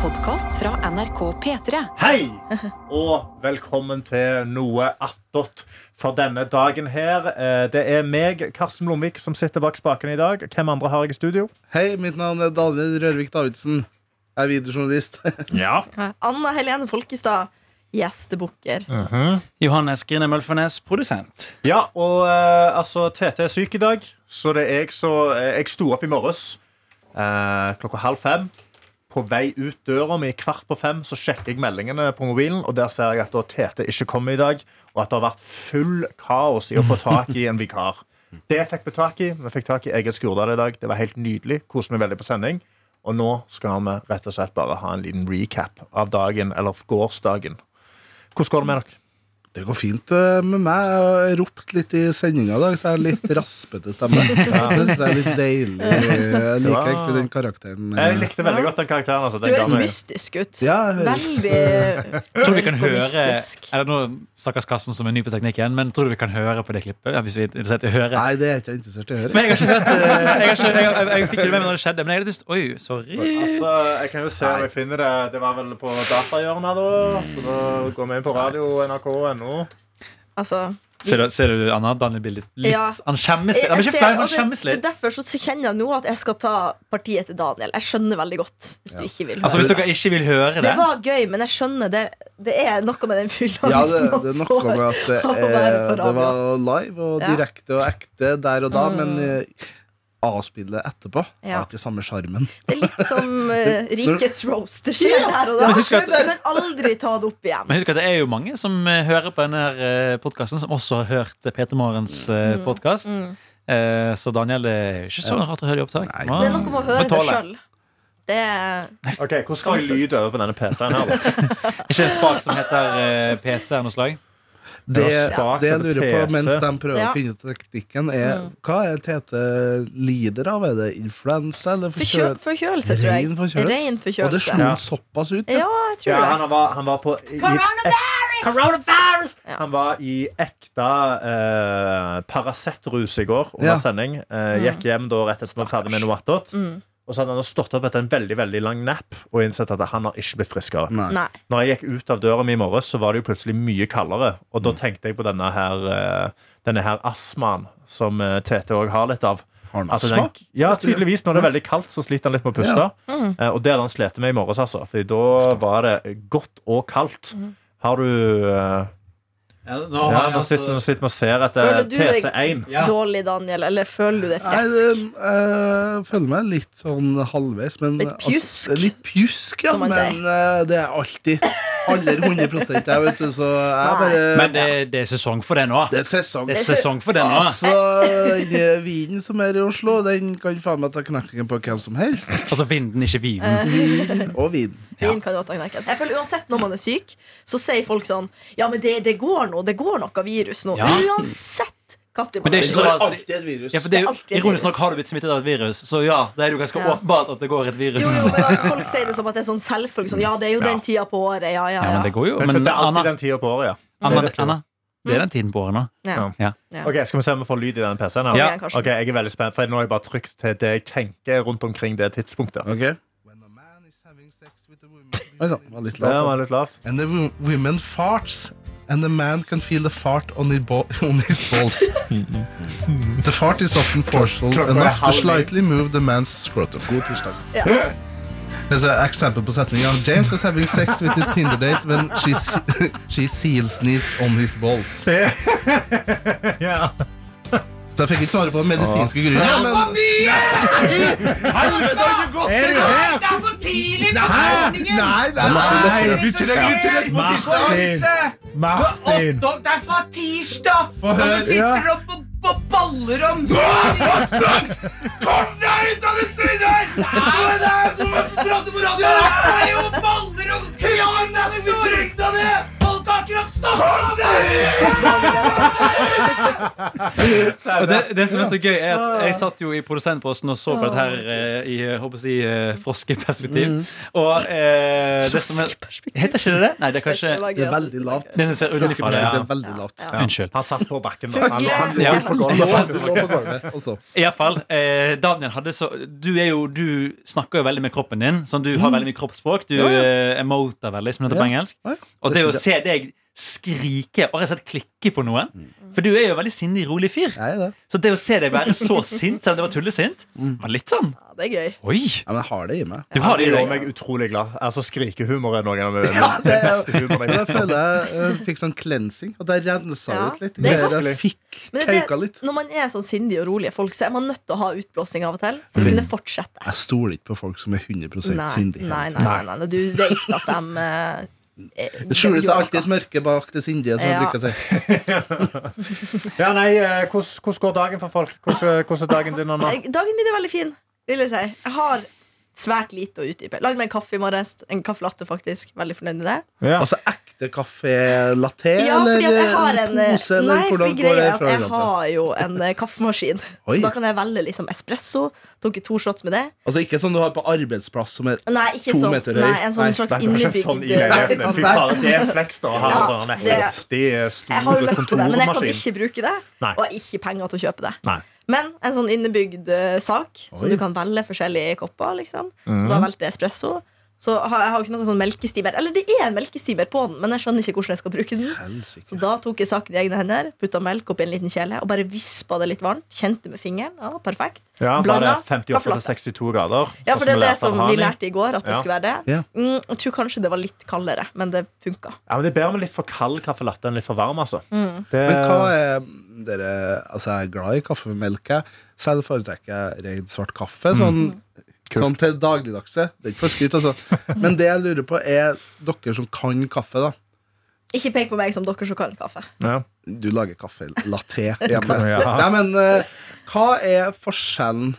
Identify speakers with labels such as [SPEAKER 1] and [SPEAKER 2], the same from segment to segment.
[SPEAKER 1] podkast fra NRK P3.
[SPEAKER 2] Hei, og velkommen til Noe attåt for denne dagen her. Eh, Det er meg, Karsten Blomvik, som sitter bak spakene i dag. Hvem andre har jeg i studio?
[SPEAKER 3] Hei, mitt navn er Daniel Rørvik Davidsen. Jeg er videojournalist.
[SPEAKER 2] Ja.
[SPEAKER 4] Anna Helene Folkestad, gjestebukker.
[SPEAKER 5] Johannes Grine Mølfernes, produsent.
[SPEAKER 2] Ja, og eh, altså, Tete er syk i dag, så det er jeg som eh, Jeg sto opp i morges eh, klokka halv fem. På vei ut døra mi kvart på fem så sjekker jeg meldingene på mobilen, og der ser jeg at da Tete ikke kommer i dag, og at det har vært full kaos i å få tak i en vikar. Det fikk vi tak i. Vi fikk tak i Egil Skurdal i dag. Det var helt nydelig. Koste meg veldig på sending. Og nå skal vi rett og slett bare ha en liten recap av dagen, eller gårsdagen. Hvordan går det med dere?
[SPEAKER 3] Det går fint eh, med meg. Jeg har ropt litt i sendinga i dag, så jeg har litt raspete stemme. Det syns jeg er litt deilig. Jeg
[SPEAKER 2] Ja.
[SPEAKER 3] liker egentlig den karakteren.
[SPEAKER 2] Jeg
[SPEAKER 3] eh.
[SPEAKER 2] likte veldig godt den karakteren. Altså.
[SPEAKER 4] Du
[SPEAKER 2] Den ga
[SPEAKER 4] høres
[SPEAKER 2] meg-
[SPEAKER 4] mystisk ut.
[SPEAKER 3] Ja, jeg høres.
[SPEAKER 4] Veldig
[SPEAKER 5] Jeg tror vi kan høre
[SPEAKER 4] Mystisk.
[SPEAKER 5] Eller nå Stakkars Karsten som er ny på teknikken, men tror du vi kan høre på det klippet? Ja, hvis vi er interessert i å høre.
[SPEAKER 3] Nei, det er jeg ikke interessert i å høre.
[SPEAKER 5] Men jeg har ikke hørt det. Jeg, har ikke, jeg, jeg, jeg fikk det med meg når det skjedde, men jeg hadde lyst Oi, sorry.
[SPEAKER 2] Altså, jeg kan jo se om jeg finner det. Det var vel på datahjørnet, da. Så da går vi inn på radio nrk.no.
[SPEAKER 4] Altså,
[SPEAKER 5] Ser du, ser du Anna? Daniel blir litt, litt
[SPEAKER 4] Ja.
[SPEAKER 5] Han skjemmes litt. Han
[SPEAKER 4] jeg
[SPEAKER 5] er
[SPEAKER 4] ser-
[SPEAKER 5] ikke flau, men han
[SPEAKER 4] altså,
[SPEAKER 5] skjemmes
[SPEAKER 4] det er
[SPEAKER 5] litt.
[SPEAKER 4] derfor så kjenner jeg nå at jeg skal ta partiet til Daniel. Jeg skjønner veldig godt hvis du ikke vil.
[SPEAKER 5] Altså,
[SPEAKER 4] høre.
[SPEAKER 5] Hvis dere ikke vil høre
[SPEAKER 4] det
[SPEAKER 5] det
[SPEAKER 4] var gøy, men jeg skjønner det. Det er noe med den fylleangsten
[SPEAKER 3] Ja, det, det er
[SPEAKER 4] man
[SPEAKER 3] noe
[SPEAKER 4] får.
[SPEAKER 3] med at det,
[SPEAKER 4] Å
[SPEAKER 3] er,
[SPEAKER 4] være på radio.
[SPEAKER 3] det var live og
[SPEAKER 4] Ja.
[SPEAKER 3] direkte og ekte der og da, men eh, avspillet etterpå
[SPEAKER 4] Ja.
[SPEAKER 3] har ikke samme sjarmen.
[SPEAKER 4] Det er litt som eh, Rikets roast. Det skjer her og da.
[SPEAKER 5] Men husk at-
[SPEAKER 4] Du kan aldri ta det opp igjen.
[SPEAKER 5] men husk at det er jo mange som eh, hører på denne podkasten, som også har hørt eh, Peter Morgens
[SPEAKER 4] Mm.
[SPEAKER 5] podkast. Så Daniel, det er jo ikke så rart å høre i opptak.
[SPEAKER 3] Nei.
[SPEAKER 4] Det er noe med å høre
[SPEAKER 5] Man
[SPEAKER 4] det
[SPEAKER 5] tåler.
[SPEAKER 4] sjøl. Det er
[SPEAKER 2] Ok, Hvordan skal jeg lyd over på denne PC-en her? da?
[SPEAKER 5] Ikke en spak som heter eh, PC eller noe slag?
[SPEAKER 3] Det,
[SPEAKER 2] Det var svakt
[SPEAKER 3] det jeg
[SPEAKER 2] at det
[SPEAKER 3] lurer på
[SPEAKER 2] peser.
[SPEAKER 3] mens de prøver
[SPEAKER 4] Ja. Mm.
[SPEAKER 3] å finne ut teknikken, er hva er Tete lider av? Er det influensa eller
[SPEAKER 4] forkjøl,
[SPEAKER 3] forkjøl-
[SPEAKER 4] forkjølelse, tror jeg.
[SPEAKER 3] Ren forkjølelse.
[SPEAKER 4] Ren
[SPEAKER 3] Og det
[SPEAKER 4] forkjølelse.
[SPEAKER 3] slo
[SPEAKER 2] Ja.
[SPEAKER 3] han såpass ut.
[SPEAKER 4] Ja, jeg tror
[SPEAKER 2] Ja,
[SPEAKER 4] det.
[SPEAKER 2] han, var, han var på Coronavirus! Coronavirus! Han var i ekte eh, Paracet-rus i går under
[SPEAKER 3] Ja.
[SPEAKER 2] sending. Eh, gikk hjem da rett etter at vi var ferdig med noe attåt. Og så hadde han stått opp etter en veldig veldig lang nap og innsett at han har ikke blitt friskere.
[SPEAKER 3] Nei.
[SPEAKER 4] Nei.
[SPEAKER 2] Når jeg gikk ut av døra mi i morges, så var det jo plutselig mye kaldere. Og da tenkte jeg på denne her, eh, denne her astmaen som eh, Tete òg har litt av.
[SPEAKER 3] Har han
[SPEAKER 2] At
[SPEAKER 3] astma?
[SPEAKER 2] Altså, den- Ja, tydeligvis. Når det er veldig kaldt, så sliter han litt med å puste.
[SPEAKER 4] Mm.
[SPEAKER 2] Eh, Og det hadde han slitt med i morges, altså. For da var det godt og kaldt.
[SPEAKER 4] Mm.
[SPEAKER 2] Har du eh, ja, Nå altså- sitter nå sitter vi og ser etter
[SPEAKER 4] Føler du deg-
[SPEAKER 2] PC1.
[SPEAKER 5] altså- Ja.
[SPEAKER 4] Dårlig, Daniel. Eller føler du deg
[SPEAKER 3] Nei, det,
[SPEAKER 4] frisk?
[SPEAKER 3] eh, føler meg litt sånn halvveis, men
[SPEAKER 4] Litt
[SPEAKER 3] altså,
[SPEAKER 4] pjusk.
[SPEAKER 3] litt pjusk, ja,
[SPEAKER 4] Som man
[SPEAKER 3] men
[SPEAKER 4] sier.
[SPEAKER 3] eh, det er alltid aller 100 jeg, vet du, så jeg
[SPEAKER 4] Nei.
[SPEAKER 3] bare
[SPEAKER 5] Men det, det er sesong for det nå.
[SPEAKER 3] Det er sesong.
[SPEAKER 5] Det er sesong for det nå.
[SPEAKER 3] Altså, den vinen som er i Oslo, den kan faen meg ta knekken på hvem som helst.
[SPEAKER 5] Altså vinden, ikke
[SPEAKER 4] Eh,
[SPEAKER 5] vinen.
[SPEAKER 3] Vin og vin.
[SPEAKER 4] Vin kan jo ta knekken. Jeg føler Uansett når man er syk, så sier folk sånn Ja, men det, det går nå. Det går noe virus nå.
[SPEAKER 5] Ja.
[SPEAKER 4] Uansett når
[SPEAKER 5] Men
[SPEAKER 4] man
[SPEAKER 5] det
[SPEAKER 4] er
[SPEAKER 5] er ikke
[SPEAKER 3] Det
[SPEAKER 5] så
[SPEAKER 4] syk.
[SPEAKER 3] er
[SPEAKER 5] rart.
[SPEAKER 3] alltid et virus.
[SPEAKER 5] Ja, for det
[SPEAKER 4] Det er
[SPEAKER 5] er jo
[SPEAKER 4] alltid et virus.
[SPEAKER 5] Ironisk nok har du blitt smittet av et virus, så ja, det er jo ganske
[SPEAKER 4] Ja.
[SPEAKER 5] åpenbart at det går et virus.
[SPEAKER 4] Jo, jo, men at folk sier det som at det er sånn selvfølgelig. Sånn, ja, det er jo den tida på året. Ja, ja,
[SPEAKER 5] Ja, men det
[SPEAKER 4] ja.
[SPEAKER 5] går jo.
[SPEAKER 2] Men
[SPEAKER 5] Men
[SPEAKER 2] det er alltid
[SPEAKER 5] Anna,
[SPEAKER 2] den tida på året, ja.
[SPEAKER 5] Anna,
[SPEAKER 2] Det er
[SPEAKER 5] Anna, det er den tiden på året nå.
[SPEAKER 4] ja.
[SPEAKER 2] Ok, Skal vi se om vi får lyd i den
[SPEAKER 4] Kom
[SPEAKER 2] PC-en? her?
[SPEAKER 5] Ja.
[SPEAKER 4] igjen, Karsten.
[SPEAKER 2] Ok, Jeg er veldig spent, for nå har jeg bare trykt til det jeg tenker rundt omkring det tidspunktet.
[SPEAKER 3] Ok. Oi sann, var litt
[SPEAKER 2] Det
[SPEAKER 3] lavt.
[SPEAKER 2] var litt lavt.
[SPEAKER 3] And the wo- women farts And the man can feel the fart on, his bo- on his balls The fart is often forceful
[SPEAKER 2] Klokka er
[SPEAKER 3] Enough to
[SPEAKER 2] halv ni.
[SPEAKER 3] slightly move the man's scrotum God tirsdag There's an example på setningen James was having sex with his Tinder date When she, she seal sneezed on his balls
[SPEAKER 2] Ja.
[SPEAKER 3] Så jeg fikk ikke svare på den medisinske grunnen ja, men... Helvete, har du gått i gang?
[SPEAKER 6] Det er for tidlig på
[SPEAKER 3] Nei,
[SPEAKER 6] morgenen!
[SPEAKER 3] nei, nei Vi trenger vi trenger på tirsdag
[SPEAKER 6] Du er åtte opp, det er fra tirsdag!
[SPEAKER 3] Få
[SPEAKER 6] Og så
[SPEAKER 3] høre.
[SPEAKER 6] sitter du oppe og- og baller om
[SPEAKER 3] Kom deg ut av det stedet her! Nei, det er som å prate på radio!
[SPEAKER 6] Det er jo baller og
[SPEAKER 3] Ja, men vi trengte det!
[SPEAKER 6] Folk har akkurat
[SPEAKER 5] Og det, det som er så gøy, er at jeg satt jo i produsentposten og så på dette her eh, i jeg håper å si, eh, froskeperspektiv.
[SPEAKER 4] Mm.
[SPEAKER 5] Og eh, det som er Heter ikke det det? Nei, det er kanskje
[SPEAKER 3] Det er veldig lavt.
[SPEAKER 5] den som ser ut fra det.
[SPEAKER 3] Det
[SPEAKER 5] Ja.
[SPEAKER 3] er veldig lavt.
[SPEAKER 5] Unnskyld.
[SPEAKER 2] Han satt på bakken.
[SPEAKER 4] Fugler!
[SPEAKER 2] Han, han lå
[SPEAKER 5] Ja.
[SPEAKER 2] på
[SPEAKER 3] Og så
[SPEAKER 2] gulvet.
[SPEAKER 3] du lå på gulvet, og så.
[SPEAKER 5] Iallfall. Eh, Daniel hadde så Du er jo Du snakker jo veldig med kroppen din. Sånn, du har veldig mye kroppsspråk. Du
[SPEAKER 3] Ja, ja.
[SPEAKER 5] eh, emoter veldig, som det heter på engelsk.
[SPEAKER 3] Ja,
[SPEAKER 5] Og det å se deg skrike og rett og slett klikke på noen For du er jo en veldig sindig, rolig fyr.
[SPEAKER 3] Jeg er det.
[SPEAKER 5] Så det å se deg være så sint, selv om det var tullesint, var litt sånn
[SPEAKER 4] Ja, det er gøy.
[SPEAKER 5] Oi!
[SPEAKER 3] Ja, men jeg har det i meg.
[SPEAKER 5] Du
[SPEAKER 2] Ja,
[SPEAKER 5] har det
[SPEAKER 2] det
[SPEAKER 5] i
[SPEAKER 2] gjorde
[SPEAKER 5] deg.
[SPEAKER 2] meg utrolig glad. Altså, Skrikehumor er noen av
[SPEAKER 3] det
[SPEAKER 2] de
[SPEAKER 3] er-
[SPEAKER 2] beste humorene
[SPEAKER 3] Men
[SPEAKER 2] jeg
[SPEAKER 3] jeg
[SPEAKER 2] vet.
[SPEAKER 3] føler jeg eh, fikk sånn cleansing, og det rensa
[SPEAKER 4] Ja,
[SPEAKER 3] ut litt.
[SPEAKER 4] det er
[SPEAKER 3] Mer jeg fikk
[SPEAKER 4] Men det,
[SPEAKER 3] kauka litt.
[SPEAKER 4] når man er sånn sindig og rolig, folk, så er man nødt til å ha utblåsning av og til. For å
[SPEAKER 3] Mm.
[SPEAKER 4] kunne fortsette.
[SPEAKER 3] Jeg stoler ikke på folk som er 100
[SPEAKER 4] Nei,
[SPEAKER 3] sindige.
[SPEAKER 4] nei, nei, nei, nei, Du vet at de eh, eh,
[SPEAKER 3] Det skjuler seg
[SPEAKER 4] gjør
[SPEAKER 3] alltid et
[SPEAKER 4] noe.
[SPEAKER 3] mørke bak det sindige, som jeg
[SPEAKER 4] Ja.
[SPEAKER 3] bruker å si.
[SPEAKER 2] Ja, nei, eh, hvordan, hvordan går dagen for folk? Hvordan, hvordan er dagen din nå?
[SPEAKER 4] Eh, Dagen min er veldig fin, vil jeg si. Jeg har svært lite å utdype. Lagde meg en kaffe i morges. En kaffe latte, faktisk. Veldig fornøyd med det.
[SPEAKER 2] Ja.
[SPEAKER 3] Altså ekte kaffe latte
[SPEAKER 4] Ja, fordi at jeg har
[SPEAKER 3] eller
[SPEAKER 4] en
[SPEAKER 3] eh,
[SPEAKER 4] eh,
[SPEAKER 3] pose, eller
[SPEAKER 4] Nei, fordi
[SPEAKER 3] hvordan går
[SPEAKER 4] greia
[SPEAKER 3] det
[SPEAKER 4] er at
[SPEAKER 3] fra
[SPEAKER 4] jeg har jo en eh, kaffemaskin.
[SPEAKER 3] Oi.
[SPEAKER 4] Så da kan jeg velge liksom espresso. Tok to shots med det.
[SPEAKER 3] Altså ikke sånn du har på arbeidsplass som er
[SPEAKER 4] Nei, ikke
[SPEAKER 3] To
[SPEAKER 4] sånn.
[SPEAKER 3] meter høy.
[SPEAKER 4] Nei, en sånn
[SPEAKER 3] Nei,
[SPEAKER 4] slags
[SPEAKER 2] Det er ikke
[SPEAKER 4] innebygd eh,
[SPEAKER 2] sånn i leiligheten. Fy
[SPEAKER 3] Nei.
[SPEAKER 2] faen, det er flex da å ha
[SPEAKER 4] Ja,
[SPEAKER 2] sånn
[SPEAKER 4] det-
[SPEAKER 2] heftig
[SPEAKER 4] Jeg har jo
[SPEAKER 2] stor
[SPEAKER 4] lyst til det, men jeg kan
[SPEAKER 2] kontormaskin.
[SPEAKER 4] ikke bruke det.
[SPEAKER 2] Nei.
[SPEAKER 4] Og har ikke penger til å kjøpe det.
[SPEAKER 2] Nei.
[SPEAKER 4] Men en sånn innebygd eh, sak, så
[SPEAKER 3] Oi.
[SPEAKER 4] du kan velge forskjellige kopper. liksom Så da valgte jeg espresso. Så har, jeg har jo ikke noen sånn melkestimer. Eller det er en melkestimer på den, men jeg skjønner ikke hvordan jeg skal bruke den. Så
[SPEAKER 3] Helsike.
[SPEAKER 4] da tok jeg saken i egne hender, putta melk oppi en liten kjele og bare vispa det litt varmt. Kjente med fingeren. Ja, perfekt.
[SPEAKER 2] Ja, var det
[SPEAKER 4] Blanda,
[SPEAKER 2] 58
[SPEAKER 4] kaffelatte.
[SPEAKER 2] til 62 grader?
[SPEAKER 4] Ja,
[SPEAKER 2] sånn
[SPEAKER 4] for det er det
[SPEAKER 2] lærte av
[SPEAKER 4] som
[SPEAKER 2] Hani?
[SPEAKER 4] vi lærte i går, at det
[SPEAKER 2] Ja.
[SPEAKER 4] skulle være det.
[SPEAKER 3] Ja.
[SPEAKER 4] Mm, jeg tror kanskje det var litt kaldere, men det funka.
[SPEAKER 2] Ja, men Det er bedre med litt for kald kaffe latte enn litt for varm. altså
[SPEAKER 4] Mm.
[SPEAKER 2] det,
[SPEAKER 3] Men hva er dere, altså Jeg er glad i kaffe med melk. jeg. Selv foretrekker jeg ren svart kaffe.
[SPEAKER 2] Mm.
[SPEAKER 3] Sånn, sånn til dagligdagse. Det er ikke for skryt, altså. Men det jeg lurer på, er dere som kan kaffe, da.
[SPEAKER 4] Ikke pek på meg som dere som kan kaffe.
[SPEAKER 2] ja.
[SPEAKER 3] Du lager kaffe latte hjemme.
[SPEAKER 2] Ja.
[SPEAKER 3] Nei, men eh, hva er forskjellen?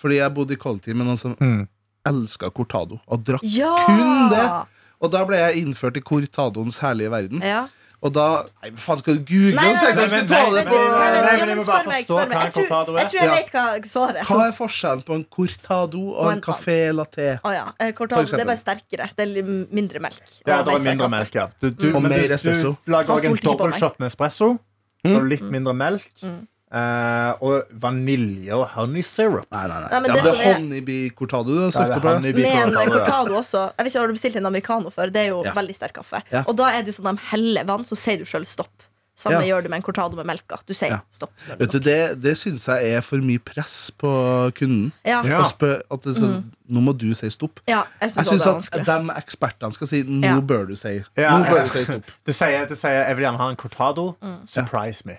[SPEAKER 3] Fordi jeg bodde i kollektiv med noen som
[SPEAKER 2] Mm.
[SPEAKER 3] elska cortado og drakk
[SPEAKER 4] Ja!
[SPEAKER 3] kun det. Og da ble jeg innført i cortadoens herlige verden.
[SPEAKER 4] Ja.
[SPEAKER 3] Og da Nei, men faen, skal du google?
[SPEAKER 4] Nei, nei,
[SPEAKER 3] Jeg tenkte jeg
[SPEAKER 2] nei,
[SPEAKER 3] skulle ta
[SPEAKER 2] nei,
[SPEAKER 3] det
[SPEAKER 2] nei,
[SPEAKER 3] på
[SPEAKER 2] nei, nei, nei.
[SPEAKER 4] ja,
[SPEAKER 2] men jeg må
[SPEAKER 4] spør
[SPEAKER 2] bare
[SPEAKER 4] meg,
[SPEAKER 2] forstå
[SPEAKER 4] spør meg.
[SPEAKER 2] hva en
[SPEAKER 4] Jeg tror
[SPEAKER 2] cortado er.
[SPEAKER 4] jeg, tror jeg
[SPEAKER 3] Ja.
[SPEAKER 4] vet hva svaret er.
[SPEAKER 3] Hva er forskjellen på en cortado og
[SPEAKER 4] Og
[SPEAKER 3] en
[SPEAKER 4] en
[SPEAKER 3] café latte?
[SPEAKER 4] Å ja. eh,
[SPEAKER 3] For
[SPEAKER 4] Cortado
[SPEAKER 3] eksempel.
[SPEAKER 4] det er bare sterkere. Det er litt mindre melk.
[SPEAKER 2] Ja,
[SPEAKER 4] Og
[SPEAKER 2] det er
[SPEAKER 4] mer
[SPEAKER 2] mindre
[SPEAKER 4] kaffe.
[SPEAKER 2] melk, ja. Du, du,
[SPEAKER 3] Og
[SPEAKER 2] men
[SPEAKER 3] mer
[SPEAKER 2] du,
[SPEAKER 3] espresso.
[SPEAKER 2] Du lager
[SPEAKER 4] Han
[SPEAKER 2] også en
[SPEAKER 4] stolte ikke på meg. Mm.
[SPEAKER 2] dobbeltshot med espresso. Så litt mindre melk. eh, og vanilje og honey syrup.
[SPEAKER 3] Nei, nei, nei.
[SPEAKER 4] Nei, men
[SPEAKER 3] ja,
[SPEAKER 4] det
[SPEAKER 3] det
[SPEAKER 4] som
[SPEAKER 3] er
[SPEAKER 4] er-
[SPEAKER 3] honeybee-cortado du har
[SPEAKER 2] Der er
[SPEAKER 3] søkt på.
[SPEAKER 2] honey bee
[SPEAKER 4] Men
[SPEAKER 2] cortado, ja.
[SPEAKER 4] cortado også Jeg vet ikke, Har du bestilt en americano før? Det er jo
[SPEAKER 3] Ja.
[SPEAKER 4] veldig sterk kaffe.
[SPEAKER 3] Ja.
[SPEAKER 4] Og da er det jo sånn at de heller vann, så sier du sjøl stopp. Samme
[SPEAKER 3] Ja.
[SPEAKER 4] gjør du med en cortado med melka. Du sier
[SPEAKER 3] Ja.
[SPEAKER 4] stopp.
[SPEAKER 3] Vet du, Det, det syns jeg er for mye press på kunden.
[SPEAKER 4] Ja,
[SPEAKER 2] Ja.
[SPEAKER 4] ja.
[SPEAKER 3] Å spør, at det, er sånn, Nå må du si stopp.
[SPEAKER 4] jeg
[SPEAKER 3] Jeg
[SPEAKER 4] syns Mm. det
[SPEAKER 3] syns
[SPEAKER 4] er
[SPEAKER 3] at
[SPEAKER 4] vanskelig.
[SPEAKER 3] de ekspertene skal si nå
[SPEAKER 4] Ja.
[SPEAKER 3] bør du si
[SPEAKER 2] Ja,
[SPEAKER 3] Nå
[SPEAKER 2] ja.
[SPEAKER 3] bør du si stopp.
[SPEAKER 2] Du sier, du sier 'jeg vil gjerne ha en cortado'.
[SPEAKER 4] Mm.
[SPEAKER 2] Surprise me.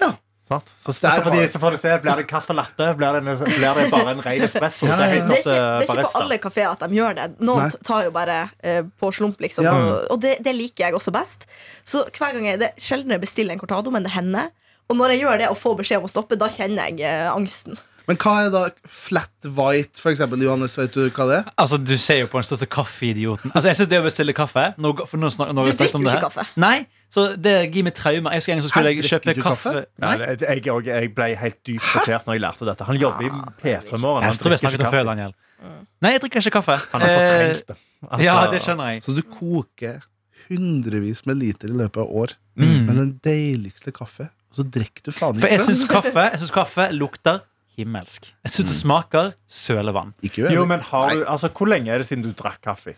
[SPEAKER 3] Ja.
[SPEAKER 2] Sant? Så, så,
[SPEAKER 3] Der har
[SPEAKER 2] fordi,
[SPEAKER 3] jeg-
[SPEAKER 2] så får du se. Blir det kaffe latte? Blir det, en- blir det bare en ren espresso? Det er helt
[SPEAKER 4] Det er,
[SPEAKER 2] opp
[SPEAKER 4] ikke, det er ikke
[SPEAKER 2] til
[SPEAKER 4] på
[SPEAKER 2] barista.
[SPEAKER 4] alle kafeer at de gjør det. Noen
[SPEAKER 3] Nei.
[SPEAKER 4] t- tar jo bare eh, på slump, liksom.
[SPEAKER 3] Ja.
[SPEAKER 4] Og, og det, det liker jeg også best. Så hver gang jeg, det er sjelden jeg bestiller en cortado, men det hender. Og når jeg gjør det og får beskjed om å stoppe, da kjenner jeg eh, angsten.
[SPEAKER 3] Men hva er da flat white, for eksempel? Johannes, vet du hva det er?
[SPEAKER 5] Altså, Du ser jo på den største kaffeidioten. Altså, Jeg syns det å bestille kaffe nå, for nå snak, nå har vi
[SPEAKER 4] Du
[SPEAKER 5] snakket om
[SPEAKER 4] drikker jo
[SPEAKER 5] det her.
[SPEAKER 4] ikke kaffe.
[SPEAKER 5] Nei, så det gir meg traumer. Jeg husker en gang så skulle
[SPEAKER 3] Hæ, drikker
[SPEAKER 5] jeg kjøpe
[SPEAKER 3] du kaffe?
[SPEAKER 5] kaffe.
[SPEAKER 2] Nei,
[SPEAKER 5] Nei,
[SPEAKER 2] jeg, jeg, og jeg ble helt dypt sjokkert når jeg lærte dette. Han jobber i P3 Morgen.
[SPEAKER 5] jeg
[SPEAKER 2] Han
[SPEAKER 5] tror vi
[SPEAKER 2] drikker
[SPEAKER 5] snakket om
[SPEAKER 2] ikke
[SPEAKER 5] før,
[SPEAKER 2] kaffe.
[SPEAKER 5] Daniel. Nei, jeg drikker ikke kaffe.
[SPEAKER 2] Han har fortrengt det. Altså,
[SPEAKER 5] Eh, Ja, det skjønner jeg.
[SPEAKER 3] Så du koker hundrevis med liter i løpet av år
[SPEAKER 5] Mm.
[SPEAKER 3] med den deiligste kaffe, og så drikker du faen
[SPEAKER 5] For
[SPEAKER 3] ikke
[SPEAKER 5] jeg
[SPEAKER 3] den.
[SPEAKER 5] syns kaffe, jeg synes kaffe lukter himmelsk. Jeg syns det smaker sølevann.
[SPEAKER 3] Ikke uenig.
[SPEAKER 2] Jo, men har du, altså, Hvor lenge er det siden du drakk kaffe?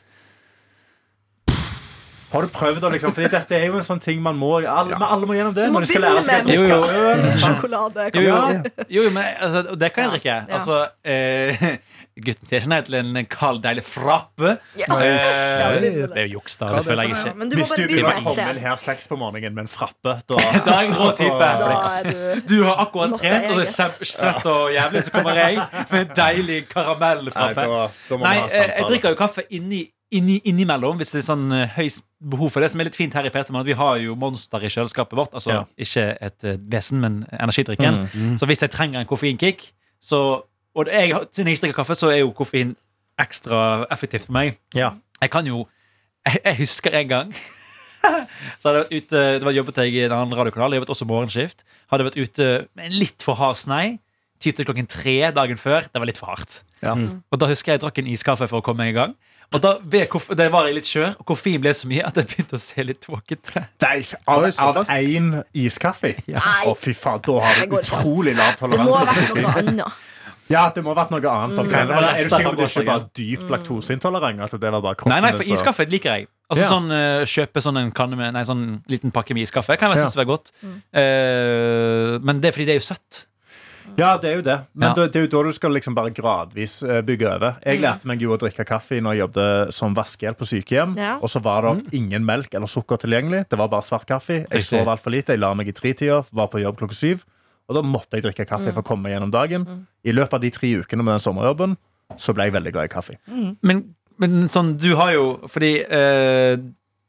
[SPEAKER 2] Har du prøvd det, liksom? Fordi dette er jo en sånn ting man må alle, men alle må gjennom det.
[SPEAKER 4] Du må
[SPEAKER 2] når de skal
[SPEAKER 4] begynne
[SPEAKER 2] lære seg å
[SPEAKER 4] med
[SPEAKER 2] drikke.
[SPEAKER 5] Jo,
[SPEAKER 4] Sjokolade.
[SPEAKER 5] Jo, jo,
[SPEAKER 3] Ja.
[SPEAKER 5] jo, jo men altså, og det kan jeg drikke.
[SPEAKER 4] Ja.
[SPEAKER 5] Altså, eh, gutten sier ikke nei til en kald, deilig frappe.
[SPEAKER 4] Ja.
[SPEAKER 5] Eh,
[SPEAKER 3] Oi.
[SPEAKER 5] det er jo juks, da.
[SPEAKER 3] Hva er
[SPEAKER 5] Det
[SPEAKER 3] det for
[SPEAKER 5] føler jeg
[SPEAKER 4] Ja,
[SPEAKER 5] ikke.
[SPEAKER 4] men du må
[SPEAKER 2] Hvis du
[SPEAKER 4] bare
[SPEAKER 2] begynner
[SPEAKER 4] begynne
[SPEAKER 2] å
[SPEAKER 4] et
[SPEAKER 2] komme inn
[SPEAKER 4] sted.
[SPEAKER 2] her seks på morgenen med en frappe, da
[SPEAKER 5] Da er jeg en rå type.
[SPEAKER 4] Da er du
[SPEAKER 5] Du har akkurat
[SPEAKER 4] Not
[SPEAKER 5] trent, og det er
[SPEAKER 4] eget.
[SPEAKER 5] sve- svett og jævlig, så kommer jeg med en deilig
[SPEAKER 2] Nei,
[SPEAKER 5] karamellfrappe.
[SPEAKER 2] da, da må
[SPEAKER 5] Nei,
[SPEAKER 2] vi
[SPEAKER 5] eh,
[SPEAKER 2] ha
[SPEAKER 5] jeg
[SPEAKER 2] samtale.
[SPEAKER 5] drikker jo kaffe inni, inni, innimellom hvis det er sånn eh, høyst behov for det. som er litt fint her i Petermann, at Vi har jo Monster i kjøleskapet vårt. Altså
[SPEAKER 2] Ja.
[SPEAKER 5] ikke et eh, vesen, men energidrikken.
[SPEAKER 2] Mm.
[SPEAKER 5] Så hvis jeg trenger en koffeinkick, så Og jeg, har- siden jeg ikke drikker kaffe, så er jo koffein ekstra effektivt for meg.
[SPEAKER 2] Ja.
[SPEAKER 5] Jeg kan jo Jeg, jeg husker en gang Så hadde jeg vært ute, det var jobbet jeg i en annen radiokanal, jobbet også morgenskift. Hadde vært ute med en litt for hard snei. Typ til klokken tre dagen før. Det var litt for hardt.
[SPEAKER 2] Ja. Mm.
[SPEAKER 5] Og da husker jeg jeg drakk en iskaffe for å komme meg i gang. Og da, ved, koff- da var jeg litt skjør, og koffein ble så mye at jeg begynte å se litt tåkete.
[SPEAKER 2] Nei, av-
[SPEAKER 3] Oi,
[SPEAKER 2] av
[SPEAKER 3] såpass.
[SPEAKER 2] én iskaffe?
[SPEAKER 4] Nei.
[SPEAKER 2] Å, fy faen, da har
[SPEAKER 4] Det
[SPEAKER 2] du
[SPEAKER 4] går ikke.
[SPEAKER 2] utrolig lav
[SPEAKER 4] Det må ha
[SPEAKER 2] toleranse. for
[SPEAKER 4] vært noe
[SPEAKER 2] koffein.
[SPEAKER 4] annet.
[SPEAKER 2] Ja, det må ha vært noe annet. om
[SPEAKER 4] Mm.
[SPEAKER 2] kvelden.
[SPEAKER 5] Det var
[SPEAKER 2] Eller Er du
[SPEAKER 5] resten
[SPEAKER 2] sikker
[SPEAKER 5] av
[SPEAKER 2] på at du ikke
[SPEAKER 5] gårsdagen.
[SPEAKER 2] var dypt laktoseintolerant? At det var bare kroppen
[SPEAKER 5] Nei, nei, for
[SPEAKER 2] som-
[SPEAKER 5] iskaffe liker jeg. Altså
[SPEAKER 2] Ja.
[SPEAKER 5] sånn, eh, Kjøpe sånn en kanne med Nei, sånn liten pakke med iskaffe kan jeg
[SPEAKER 2] Ja.
[SPEAKER 5] synes er godt. Eh, men det er fordi det er jo søtt.
[SPEAKER 2] Ja, det er jo det. Men
[SPEAKER 5] Ja.
[SPEAKER 2] da- det er jo da du skal liksom bare gradvis eh, bygge over. Jeg lærte meg jo å drikke kaffe når jeg jobbet som vaskehjelp på sykehjem.
[SPEAKER 4] Ja.
[SPEAKER 2] Og så var det ingen melk eller sukker tilgjengelig. Det var bare svart kaffe. Jeg
[SPEAKER 5] Mm. Riktig.
[SPEAKER 2] sov altfor lite. Jeg la meg i tretida, var på jobb klokka syv. Og da måtte jeg drikke kaffe for å komme meg gjennom dagen. I løpet av de tre ukene med den sommerjobben så ble jeg veldig glad i kaffe.
[SPEAKER 5] Men, men sånn, du har jo Fordi eh,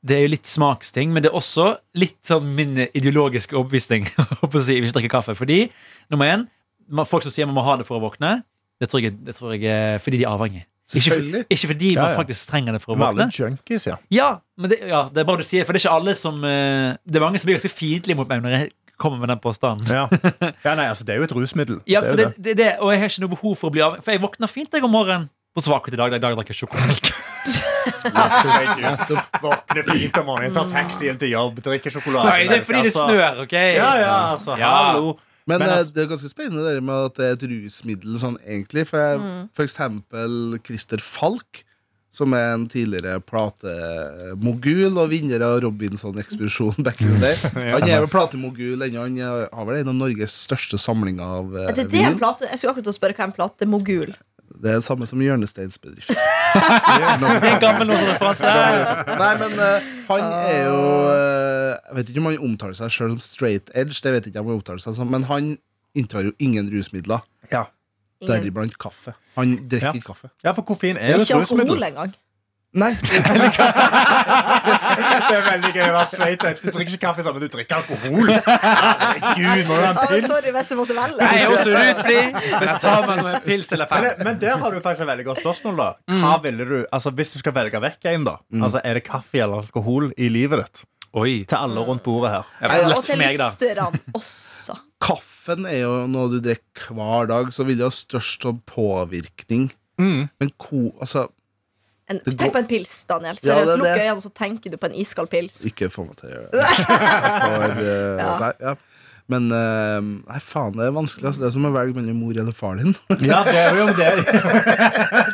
[SPEAKER 5] det er jo litt smaksting, men det er også litt sånn min ideologiske overbevisning. holdt på å si, hvis jeg drikker kaffe Fordi, nummer én, ma- folk som sier man må ha det for å våkne, det tror jeg, det tror jeg er fordi de er avhengige. Ikke,
[SPEAKER 3] Selvfølgelig.
[SPEAKER 5] ikke fordi
[SPEAKER 2] Ja,
[SPEAKER 5] man
[SPEAKER 2] ja.
[SPEAKER 5] faktisk trenger det for å
[SPEAKER 2] Vi var alle
[SPEAKER 5] våkne.
[SPEAKER 2] junkies, ja.
[SPEAKER 5] Ja, men det, ja, det er bra du sier, for det er ikke alle som eh, Det er mange som blir ganske fiendtlige mot meg når jeg kommer med den påstanden.
[SPEAKER 2] Ja. ja, nei, altså, det er jo et rusmiddel.
[SPEAKER 5] Ja,
[SPEAKER 2] Det er
[SPEAKER 5] for
[SPEAKER 2] jo
[SPEAKER 5] det,
[SPEAKER 2] det.
[SPEAKER 5] det, det, Og jeg har ikke noe behov for å bli av For jeg våkner fint jeg om morgenen. På svakhet i dag. I dag drakk jeg sjokomelk.
[SPEAKER 2] Våkne fint om morgenen, tar taxien til jobb, drikker sjokolade. Altså,
[SPEAKER 5] Nei, det er fordi det snør, OK?
[SPEAKER 2] Ja, ja, altså,
[SPEAKER 5] Ja.
[SPEAKER 2] hallo.
[SPEAKER 3] Men,
[SPEAKER 2] Men
[SPEAKER 3] eh,
[SPEAKER 2] altså-
[SPEAKER 3] det er ganske spennende det der med at det er et rusmiddel sånn egentlig. For, jeg,
[SPEAKER 4] Mm.
[SPEAKER 3] for eksempel Christer Falk, som er en tidligere platemogul og vinner av Robinson-ekspedisjonen back in the day. Han er vel platemogul ennå. Han er- har vel en av Norges største samlinger av eh,
[SPEAKER 4] Er det det en
[SPEAKER 3] vin.
[SPEAKER 4] plate? Jeg skulle akkurat til å spørre hva en plate mogul
[SPEAKER 3] Det er det samme som hjørnesteinsbedrift.
[SPEAKER 5] Det er en gammel referanse.
[SPEAKER 3] Nei, men eh, han er jo eh, Jeg vet ikke om han omtaler seg selv som straight edge, Det vet jeg ikke om han omtaler seg som men han inntar jo ingen rusmidler,
[SPEAKER 4] Ingen.
[SPEAKER 3] deriblant kaffe. Han drikker
[SPEAKER 2] Ja.
[SPEAKER 3] ikke kaffe.
[SPEAKER 2] Ja, for koffein er jo et
[SPEAKER 4] Ikke
[SPEAKER 2] rusmiddel.
[SPEAKER 4] alkohol engang.
[SPEAKER 3] Nei,
[SPEAKER 2] Det er veldig gøy å være straight edge. Du drikker ikke kaffe sammen, du drikker alkohol. Herregud, må du ha en
[SPEAKER 4] Ah,
[SPEAKER 2] pils?
[SPEAKER 4] sorry hvis jeg måtte velge.
[SPEAKER 5] Jeg er også rusfri, men jeg tar meg noen pils eller fem.
[SPEAKER 2] Men, men der har du faktisk et veldig godt spørsmål. da
[SPEAKER 3] Mm.
[SPEAKER 2] Hva ville du, altså Hvis du skal velge vekk en, da Altså er det kaffe eller alkohol i livet ditt?
[SPEAKER 5] Oi.
[SPEAKER 2] Til alle
[SPEAKER 4] Mm.
[SPEAKER 2] rundt bordet her.
[SPEAKER 5] Det er
[SPEAKER 4] Og
[SPEAKER 5] lett
[SPEAKER 4] til
[SPEAKER 5] for meg, da.
[SPEAKER 4] lytterne også.
[SPEAKER 3] kaffen er jo noe du drikker hver dag, så vil det ha størst sånn påvirkning. Men ko... Altså,
[SPEAKER 4] En,
[SPEAKER 3] Det går-
[SPEAKER 4] tenk på en pils, Daniel.
[SPEAKER 3] Ja,
[SPEAKER 4] Seriøst,
[SPEAKER 3] det er
[SPEAKER 4] Lukk
[SPEAKER 3] det.
[SPEAKER 4] øynene, så tenker du på en iskald pils.
[SPEAKER 3] ikke få meg til å gjøre det. For, eh,
[SPEAKER 4] Ja.
[SPEAKER 3] Nei, ja. Men eh, nei, faen, det er vanskelig. Altså. Det er som å velge mellom mor eller far din. Det
[SPEAKER 2] Ja, det er jo det.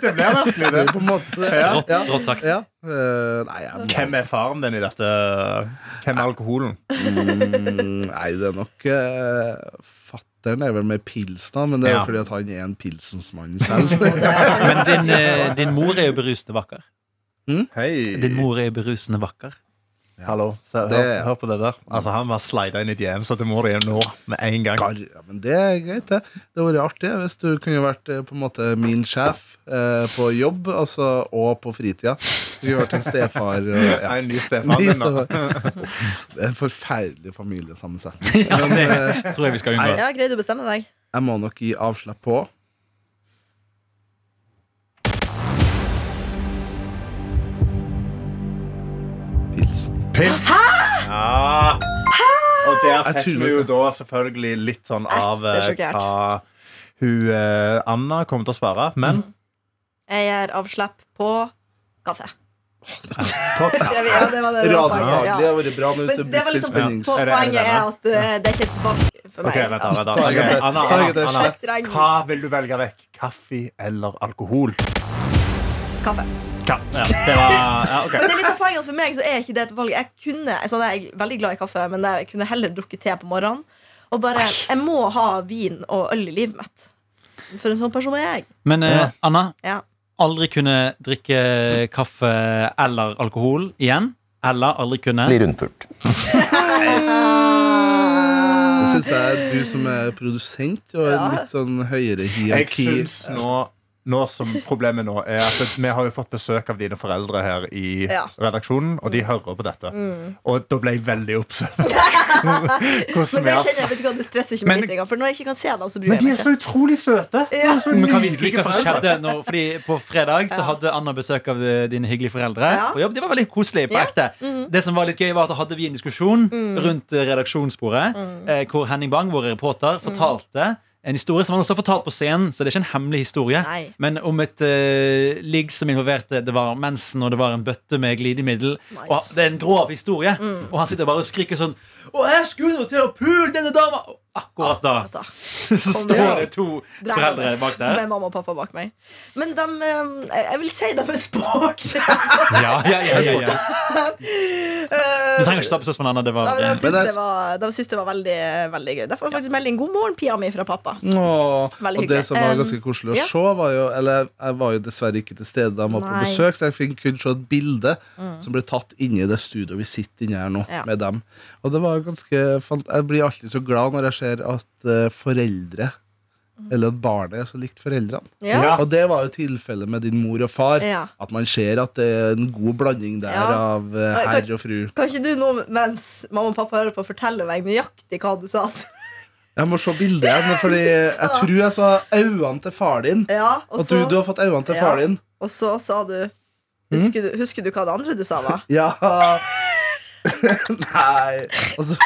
[SPEAKER 2] Det blir vanskelig,
[SPEAKER 3] er
[SPEAKER 2] det.
[SPEAKER 3] jo på en måte det.
[SPEAKER 5] Rått,
[SPEAKER 3] Ja.
[SPEAKER 5] rått sagt.
[SPEAKER 3] Ja. Eh, nei, jeg
[SPEAKER 2] Hvem er faren din i dette? Hvem er alkoholen?
[SPEAKER 3] Mm, Nei, det er nok uh, Fatteren er vel med pilsna, men det er jo
[SPEAKER 2] Ja.
[SPEAKER 3] fordi at han er en pilsensmann selv.
[SPEAKER 5] Men din, eh, din mor er jo berusende vakker.
[SPEAKER 2] Hei.
[SPEAKER 5] Din mor er jo berusende vakker.
[SPEAKER 2] Hallo. Se, hør,
[SPEAKER 3] Det-
[SPEAKER 2] hør på det der. Altså, han var slida inn i DM-så til mor igjen nå med en gang.
[SPEAKER 3] Gar, ja, men det er greit, det. Det hadde vært artig hvis du kunne vært eh, på en måte min sjef eh, på jobb altså, og på fritida. Du kunne vært en stefar. og- ja.
[SPEAKER 2] Jeg er en ny Stefan
[SPEAKER 3] Ny
[SPEAKER 2] din nå.
[SPEAKER 3] stefar. Det er en forferdelig familiesammensetning.
[SPEAKER 5] Ja, det tror jeg vi skal unngå.
[SPEAKER 4] Ja, Greide du å bestemme deg?
[SPEAKER 3] Jeg må nok gi avslapp på. Pils.
[SPEAKER 2] Pils. Ja. Og der
[SPEAKER 3] Jeg
[SPEAKER 2] fikk
[SPEAKER 3] tuller
[SPEAKER 2] vi jo
[SPEAKER 3] ikke.
[SPEAKER 2] da selvfølgelig litt sånn av eh,
[SPEAKER 4] Ekte sjokkert.
[SPEAKER 2] hva hun eh, Anna kommer til å svare. Men
[SPEAKER 4] Jeg gjør avslipp på kaffe.
[SPEAKER 2] på
[SPEAKER 4] Ja, vi- ja, det var det. det var poenget,
[SPEAKER 3] Radiofaglig
[SPEAKER 4] ja.
[SPEAKER 3] har vært bra. Men hvis
[SPEAKER 4] Men det var
[SPEAKER 3] brukte
[SPEAKER 4] liksom
[SPEAKER 3] spennings-
[SPEAKER 4] po-
[SPEAKER 2] Er det- er det
[SPEAKER 4] Poenget er
[SPEAKER 2] denne?
[SPEAKER 4] at eh, det er ikke et valg for
[SPEAKER 2] Ok,
[SPEAKER 4] meg.
[SPEAKER 2] vent da, vent da.
[SPEAKER 3] Ta en
[SPEAKER 2] Ok,
[SPEAKER 3] til.
[SPEAKER 2] Anna,
[SPEAKER 3] Ta en
[SPEAKER 2] Anna,
[SPEAKER 3] til.
[SPEAKER 2] Anna,
[SPEAKER 4] Jeg trenger-
[SPEAKER 2] hva vil du velge vekk? Kaffe eller alkohol?
[SPEAKER 4] Kaffe.
[SPEAKER 2] Kaffe. Ja, det var, ja,
[SPEAKER 4] Men
[SPEAKER 2] ok.
[SPEAKER 4] det er litt av poenget at For meg så er ikke det et valg. Jeg kunne, sånn, jeg er veldig glad i kaffe, men jeg kunne heller drukket te på morgenen. Og bare, Jeg må ha vin og øl i livet mitt. For en sånn person er jeg.
[SPEAKER 5] Men eh, Anna,
[SPEAKER 4] Ja.
[SPEAKER 5] aldri kunne drikke kaffe eller alkohol igjen. Eller aldri kunne
[SPEAKER 7] blir rundpult.
[SPEAKER 3] Det syns jeg du som er produsent og
[SPEAKER 4] Ja.
[SPEAKER 3] litt sånn høyere
[SPEAKER 2] Jeg
[SPEAKER 3] hierarki
[SPEAKER 2] syns nå nå som problemet nå er at vi har jo fått besøk av dine foreldre her i
[SPEAKER 4] Ja. Mm.
[SPEAKER 2] redaksjonen, og de hører på dette. Og da ble jeg veldig oppsatt.
[SPEAKER 4] Men
[SPEAKER 2] Hvordan
[SPEAKER 4] det
[SPEAKER 2] vi har-
[SPEAKER 4] kjenner jeg, vet du hva, det stresser ikke
[SPEAKER 5] Men-
[SPEAKER 4] meg litt engang. For når jeg ikke kan se dem, så bryr jeg
[SPEAKER 2] Men de
[SPEAKER 4] meg
[SPEAKER 2] er så
[SPEAKER 4] ikke.
[SPEAKER 2] utrolig søte! De er så
[SPEAKER 5] Men kan vi si
[SPEAKER 2] nydelige
[SPEAKER 5] hva som
[SPEAKER 2] foreldre.
[SPEAKER 5] skjedde når, Fordi På fredag så
[SPEAKER 4] Ja.
[SPEAKER 5] hadde Anna besøk av eh, dine hyggelige foreldre
[SPEAKER 4] Ja.
[SPEAKER 5] på jobb. Det var veldig koselig. på
[SPEAKER 4] Ja. Mm.
[SPEAKER 5] ekte Det som var litt gøy var at Da hadde vi en diskusjon rundt eh, redaksjonsbordet,
[SPEAKER 4] Mm.
[SPEAKER 5] eh, hvor Henning Bang, vår reporter, fortalte en historie som han også har fortalt på scenen, så det er ikke en hemmelig historie.
[SPEAKER 4] Nei.
[SPEAKER 5] Men om et eh, ligg som involverte det var mensen, og det var en bøtte med glidemiddel.
[SPEAKER 4] Nice. Mm.
[SPEAKER 5] Og det er en grov historie. Og han sitter bare og skriker sånn Å, jeg skulle jo til å pule denne dama! Og Akkurat da
[SPEAKER 4] Dette.
[SPEAKER 5] så står det to foreldre
[SPEAKER 4] Drevendes
[SPEAKER 5] bak der.
[SPEAKER 4] Med mamma og pappa bak meg. Men de eh, Jeg jeg vil si de er sporty. altså.
[SPEAKER 5] Ja, ja, ja, ja, ja.
[SPEAKER 4] Eh,
[SPEAKER 5] Du trenger ikke svare på spørsmålet, Anna. Det
[SPEAKER 4] ja,
[SPEAKER 5] var,
[SPEAKER 4] men altså- de
[SPEAKER 3] Men
[SPEAKER 4] syns
[SPEAKER 3] det-
[SPEAKER 4] det var, de syns det var veldig, veldig gøy. Derfor får jeg faktisk melding 'God morgen, pia mi' fra pappa.
[SPEAKER 3] Åh,
[SPEAKER 4] Veldig
[SPEAKER 3] og det
[SPEAKER 4] hyggelig.
[SPEAKER 3] som var
[SPEAKER 4] Um,
[SPEAKER 3] ganske koselig å
[SPEAKER 4] ja.
[SPEAKER 3] se, var jo Eller jeg var jo dessverre ikke til stede da jeg var på
[SPEAKER 4] Nei. Mm.
[SPEAKER 3] besøk, så jeg fikk kun se et bilde som ble tatt inni det studioet vi sitter inne her nå,
[SPEAKER 4] Ja.
[SPEAKER 3] med dem. Og det var ganske fant Jeg blir alltid så glad når jeg ser at eh, foreldre eller at barnet er så likt foreldrene.
[SPEAKER 4] Mm. Ja.
[SPEAKER 3] Og det var jo tilfellet med din mor og far.
[SPEAKER 4] Ja.
[SPEAKER 3] At man ser at det er en god blanding der
[SPEAKER 4] Ja.
[SPEAKER 3] av eh,
[SPEAKER 4] Og jeg
[SPEAKER 3] herr og fru.
[SPEAKER 4] Kan ikke du nå, mens mamma og pappa hører på, fortelle meg nøyaktig hva du sa?
[SPEAKER 3] Jeg må se bildet igjen, Fordi jeg
[SPEAKER 4] sa-
[SPEAKER 3] tror jeg så øynene til far din.
[SPEAKER 4] Ja, og
[SPEAKER 3] At du,
[SPEAKER 4] så,
[SPEAKER 3] du har fått øynene til
[SPEAKER 4] Ja.
[SPEAKER 3] far din.
[SPEAKER 4] og så sa du Husker du, husker du hva det andre du sa, da?
[SPEAKER 3] Ja Nei altså,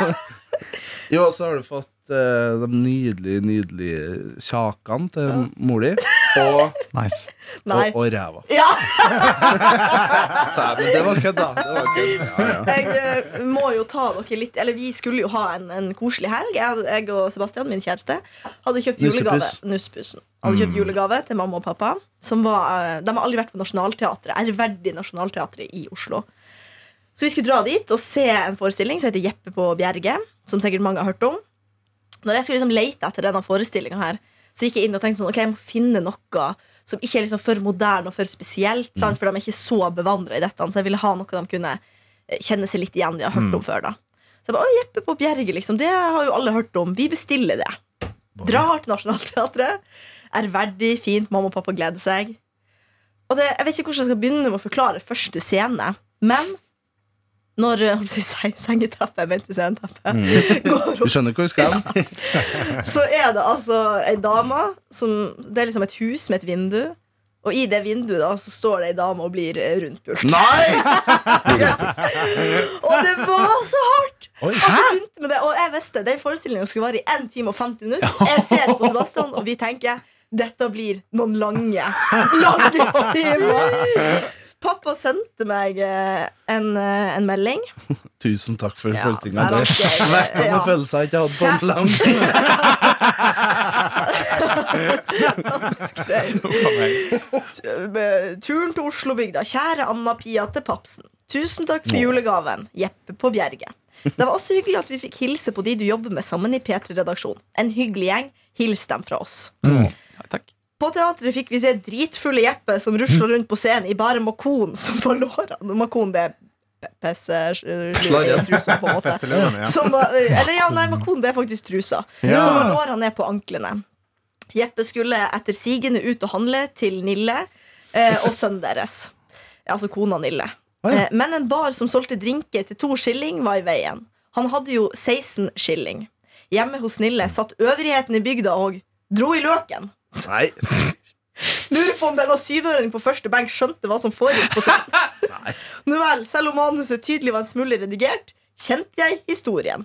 [SPEAKER 3] Jo, og så har du fått eh, de nydelige, nydelige kjakene til mor di. Og,
[SPEAKER 5] nice.
[SPEAKER 4] Nei.
[SPEAKER 3] og, og ræva.
[SPEAKER 4] Ja!
[SPEAKER 3] Så, jeg- men det var kødd, da. Det var kødd. Ja, ja.
[SPEAKER 4] Jeg eh, må jo ta dere litt Eller vi skulle jo ha en, en koselig helg. Jeg, jeg og Sebastian, min kjæreste, hadde kjøpt julegave.
[SPEAKER 3] Nussepuss. Mm.
[SPEAKER 4] Nusspussen. Hadde kjøpt julegave til mamma og pappa. Som var, eh, de har aldri vært på Nationaltheatret. Ærverdig Nationaltheatret i Oslo. Så vi skulle dra dit og se en forestilling som heter Jeppe på Bjerge. Som sikkert mange har hørt om. Når jeg skulle liksom lete etter denne forestillinga her, så gikk jeg inn og tenkte sånn, ok, jeg må finne noe som ikke er liksom for moderne og for spesielt,
[SPEAKER 3] Mm.
[SPEAKER 4] sant? for de er ikke så bevandra i dette. Så jeg ville ha noe de kunne eh, kjenne seg litt igjen i og ha hørt om før. da Så jeg bare, å, Jeppe på Bjerge, liksom, det har jo alle hørt om. Vi bestiller det. Drar til Nationaltheatret. Ærverdig, fint, mamma og pappa gleder seg. Og det, Jeg vet ikke hvordan jeg skal begynne med å forklare første scene, men når eh, holdt på å si, sengeteppet, jeg mente sceneteppet, går opp
[SPEAKER 3] Du skjønner hvor vi skal hen?
[SPEAKER 4] så er det altså ei dame som Det er liksom et hus med et vindu. Og i det vinduet da, så står det ei dame og blir eh, rundpult.
[SPEAKER 3] Nice!
[SPEAKER 4] Og det var så hardt!
[SPEAKER 3] Oi,
[SPEAKER 4] At det begynte med det, og jeg visste Den forestillingen skulle vare i 1 time og 50 minutter. Jeg ser på Sebastian, og vi tenker dette blir noen lange, lange timer. Pappa sendte meg eh, en, eh, en melding.
[SPEAKER 3] Tusen takk for
[SPEAKER 4] Ja,
[SPEAKER 3] forestillinga.
[SPEAKER 4] det var gøy.
[SPEAKER 3] Vekkende
[SPEAKER 4] Ja.
[SPEAKER 3] følelser jeg ikke hadde på en lang tid.
[SPEAKER 4] Skrev. Turen til Oslobygda. Kjære Anna Pia til Papsen. Tusen takk for julegaven. Jeppe på Bjerget. Det var også hyggelig at vi fikk hilse på de du jobber med sammen i P3-redaksjonen. En hyggelig gjeng. Hils dem fra oss.
[SPEAKER 5] Ja, takk.
[SPEAKER 4] På teatret fikk vi se dritfulle Jeppe som rusla rundt på scenen i bare makon som var lårene. Makon, det er pe- pesse... eh,
[SPEAKER 3] Sladden.
[SPEAKER 4] trusa, på en måte.
[SPEAKER 2] Festelevene, ja.
[SPEAKER 4] Som var, eller ja, nei, makon det er faktisk trusa.
[SPEAKER 2] Ja.
[SPEAKER 4] Som var låra ned på anklene. Jeppe skulle etter sigende ut og handle til Nille eh, og sønnen deres. Ja, Altså kona Nille.
[SPEAKER 3] Å, ja.
[SPEAKER 4] Eh, men en bar som solgte drinker til to skilling, var i veien. Han hadde jo 16 skilling. Hjemme hos Nille satt øvrigheten i bygda og dro i løken.
[SPEAKER 3] Nei.
[SPEAKER 4] Lurer på om denne syvøringen på første benk skjønte hva som foregikk på scenen. Nå vel, selv om manuset tydelig var en smule redigert, kjente jeg historien.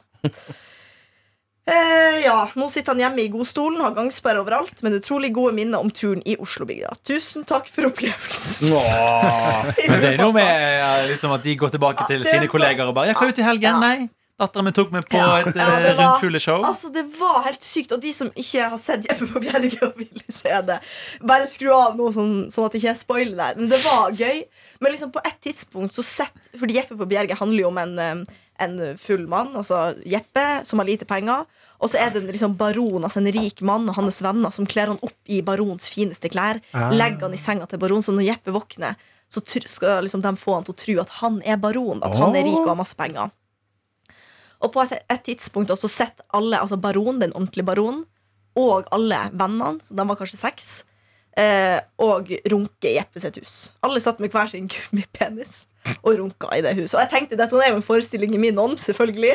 [SPEAKER 4] Eh, ja, nå sitter han hjemme i godstolen, har gangsperre overalt, men utrolig gode minner om turen i Oslobygda. Tusen takk for opplevelsen.
[SPEAKER 3] Åh.
[SPEAKER 5] Men det er noe med eh, liksom, at de går tilbake til
[SPEAKER 4] Ja, det
[SPEAKER 5] sine
[SPEAKER 4] var-
[SPEAKER 5] kolleger og bare 'Jeg kan jo til
[SPEAKER 4] Ja.
[SPEAKER 5] helgen.' Nei. Dattera mi tok meg på et
[SPEAKER 4] Ja,
[SPEAKER 5] eh,
[SPEAKER 4] det var-
[SPEAKER 5] rundpuleshow.
[SPEAKER 4] Altså, det var helt sykt. Og de som ikke har sett Jeppe på Bjerke og vil se det, bare skru av nå, sånn, sånn at jeg ikke spoiler det. Men det var gøy. Men liksom på et tidspunkt så sett Fordi Jeppe på Bjerke handler jo om en, eh, en full mann, altså Jeppe, som har lite penger. Og så er det en liksom baron, altså en rik mann og hans venner som kler han opp i barons fineste klær. Legger han i senga til baron, så når Jeppe våkner, så tr- skal liksom de få han til å tro at han er baron. At han er rik og har masse penger. Og på et, et tidspunkt også sett alle, altså baron, den ordentlige baronen, og alle vennene, så de var kanskje seks, eh, og runke i Jeppe sitt hus. Alle satt med hver sin gummipenis og runka i det huset. Og jeg tenkte dette er jo en forestilling i min ånd, selvfølgelig.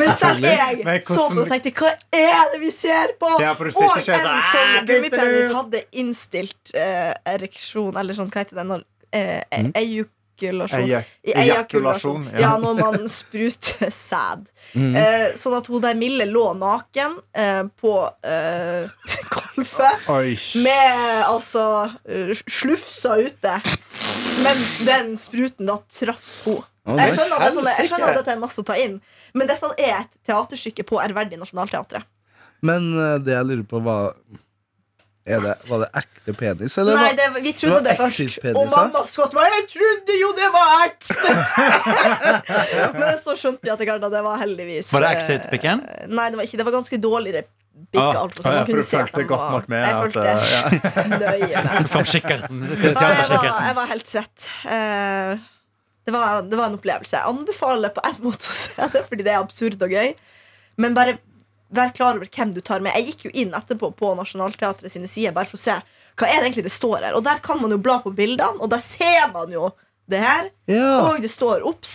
[SPEAKER 4] Men selv jeg
[SPEAKER 2] Men hvordan-
[SPEAKER 4] så på det og tenkte hva er det vi ser på?
[SPEAKER 2] Ja, for du sitter
[SPEAKER 4] og
[SPEAKER 2] ikke
[SPEAKER 4] en
[SPEAKER 2] sånn, «Ah,
[SPEAKER 4] sånn
[SPEAKER 2] tister du?»
[SPEAKER 4] gummipenis hadde innstilt eh, ereksjon, eller sånn, hva heter det når eh,
[SPEAKER 2] Mm.
[SPEAKER 4] e- Ejakulasjon.
[SPEAKER 2] Eja-
[SPEAKER 4] I ejakulasjon. Ja.
[SPEAKER 2] ejakulasjon, ja.
[SPEAKER 4] når man spruter sæd. Eh, sånn at hun der Mille lå naken eh, på eh, golfet
[SPEAKER 2] Oi.
[SPEAKER 4] med altså eh, slufsa ute, mens den spruten da traff henne. Jeg skjønner, at dette, jeg skjønner at dette er masse å ta inn, men dette er et teaterstykke på ærverdig Nationaltheatret.
[SPEAKER 3] Men eh, det jeg lurer på, var er det, Var det ekte penis, eller?
[SPEAKER 4] Nei,
[SPEAKER 3] var-
[SPEAKER 4] det, vi trodde det,
[SPEAKER 3] det var
[SPEAKER 4] først.
[SPEAKER 3] exit-penis,
[SPEAKER 4] Og
[SPEAKER 3] ja?
[SPEAKER 4] mamma skvatt meg. Jeg trodde jo det var ekte! Men så skjønte jeg etter hvert at det var heldigvis
[SPEAKER 5] Var det
[SPEAKER 4] eh,
[SPEAKER 5] exit-pikken?
[SPEAKER 4] Nei, det var ikke. Det var ganske dårligere pikk.
[SPEAKER 5] Ah,
[SPEAKER 4] alt, og sånn.
[SPEAKER 2] ah, ja,
[SPEAKER 4] Man
[SPEAKER 2] for
[SPEAKER 4] kunne
[SPEAKER 2] du
[SPEAKER 4] se at
[SPEAKER 2] fulgte
[SPEAKER 4] de
[SPEAKER 2] godt
[SPEAKER 4] var-
[SPEAKER 2] nok med
[SPEAKER 4] Jeg
[SPEAKER 2] at, eh,
[SPEAKER 4] fulgte nøye med.
[SPEAKER 5] Fram kikkerten. Til
[SPEAKER 4] Ja, jeg, var,
[SPEAKER 5] teaterkikkerten.
[SPEAKER 4] jeg var helt svett. Eh, det, var, det var en opplevelse. Jeg anbefaler på en måte å se det, fordi det er absurd og gøy. Men bare vær klar over hvem du tar med. Jeg gikk jo inn etterpå på Nationaltheatret sine sider bare for å se hva er det egentlig det står her. Og der kan man jo bla på bildene, og der ser man jo det her.
[SPEAKER 3] Ja.
[SPEAKER 4] Og det står OBS.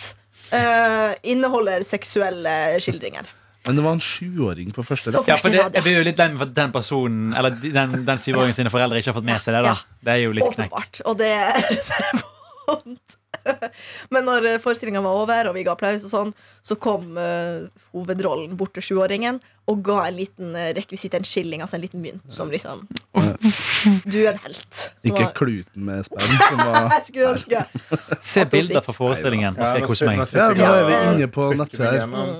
[SPEAKER 4] eh, inneholder seksuelle skildringer.
[SPEAKER 3] Men det var en sjuåring på første
[SPEAKER 4] På
[SPEAKER 3] rad.
[SPEAKER 5] Ja, for det,
[SPEAKER 4] første rad,
[SPEAKER 5] jeg
[SPEAKER 4] ja.
[SPEAKER 5] blir jo litt lei meg for at den personen Eller de- den, den syvåringen sine foreldre ikke har fått med seg det. da
[SPEAKER 4] Ja.
[SPEAKER 5] Det er jo litt knekk.
[SPEAKER 4] Åpenbart. Og det, det er vondt. Men når forestillinga var over, og vi ga applaus, og sånn så kom eh, hovedrollen bort til sjuåringen og ga en liten eh, rekvisitt, en skilling, altså en liten mynt, som liksom Du er en helt. Som
[SPEAKER 3] Ikke
[SPEAKER 4] var-
[SPEAKER 3] kluten med spenn. Som var,
[SPEAKER 4] jeg skulle ønske
[SPEAKER 5] Se
[SPEAKER 4] At hun
[SPEAKER 5] bilder
[SPEAKER 4] fikk-
[SPEAKER 5] fra forestillingen, og skal jeg kose meg.
[SPEAKER 3] ja, nå er vi
[SPEAKER 4] Ja.
[SPEAKER 3] inne på nettsida her.
[SPEAKER 2] igjennom.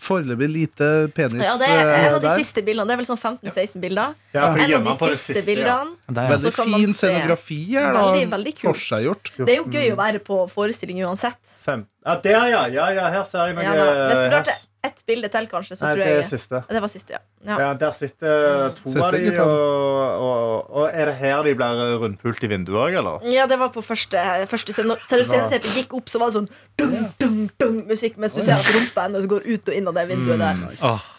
[SPEAKER 3] Foreløpig lite penis
[SPEAKER 4] ja, Det er
[SPEAKER 3] eh,
[SPEAKER 4] en av de
[SPEAKER 3] der.
[SPEAKER 4] siste bildene. Det er vel sånn 15-16 bilder.
[SPEAKER 2] Ja, for
[SPEAKER 4] En av
[SPEAKER 2] gjemmer
[SPEAKER 4] de
[SPEAKER 2] han på det
[SPEAKER 4] siste
[SPEAKER 2] ja.
[SPEAKER 4] bildene.
[SPEAKER 5] Der, ja.
[SPEAKER 4] Så
[SPEAKER 3] Veldig
[SPEAKER 4] kan man
[SPEAKER 3] fin
[SPEAKER 4] se.
[SPEAKER 3] scenografi her. da.
[SPEAKER 4] Veldig, veldig kult.
[SPEAKER 3] Forseggjort.
[SPEAKER 4] Det er jo gøy å være på forestilling uansett.
[SPEAKER 2] Fem. Ja, der, ja. ja, ja. Her ser jeg noe.
[SPEAKER 4] Ja, da. Hvis du
[SPEAKER 2] her
[SPEAKER 4] drar
[SPEAKER 2] s-
[SPEAKER 4] til ett bilde til, kanskje, så
[SPEAKER 2] eh, Nei,
[SPEAKER 4] tror
[SPEAKER 2] det er
[SPEAKER 4] jeg
[SPEAKER 2] siste.
[SPEAKER 4] Det var siste, ja. ja.
[SPEAKER 2] Ja, der sitter to
[SPEAKER 3] Sitter
[SPEAKER 2] av de,
[SPEAKER 3] guttene.
[SPEAKER 2] og, og, og er det her de blir rundpult i vinduet òg, eller?
[SPEAKER 4] Ja, det var på første, første scene. Når seriøst sceneteppet gikk opp, så var det sånn dung, dung, dung musikk, mens du ser at rumpa hennes går ut og inn av det vinduet der.
[SPEAKER 5] Åh.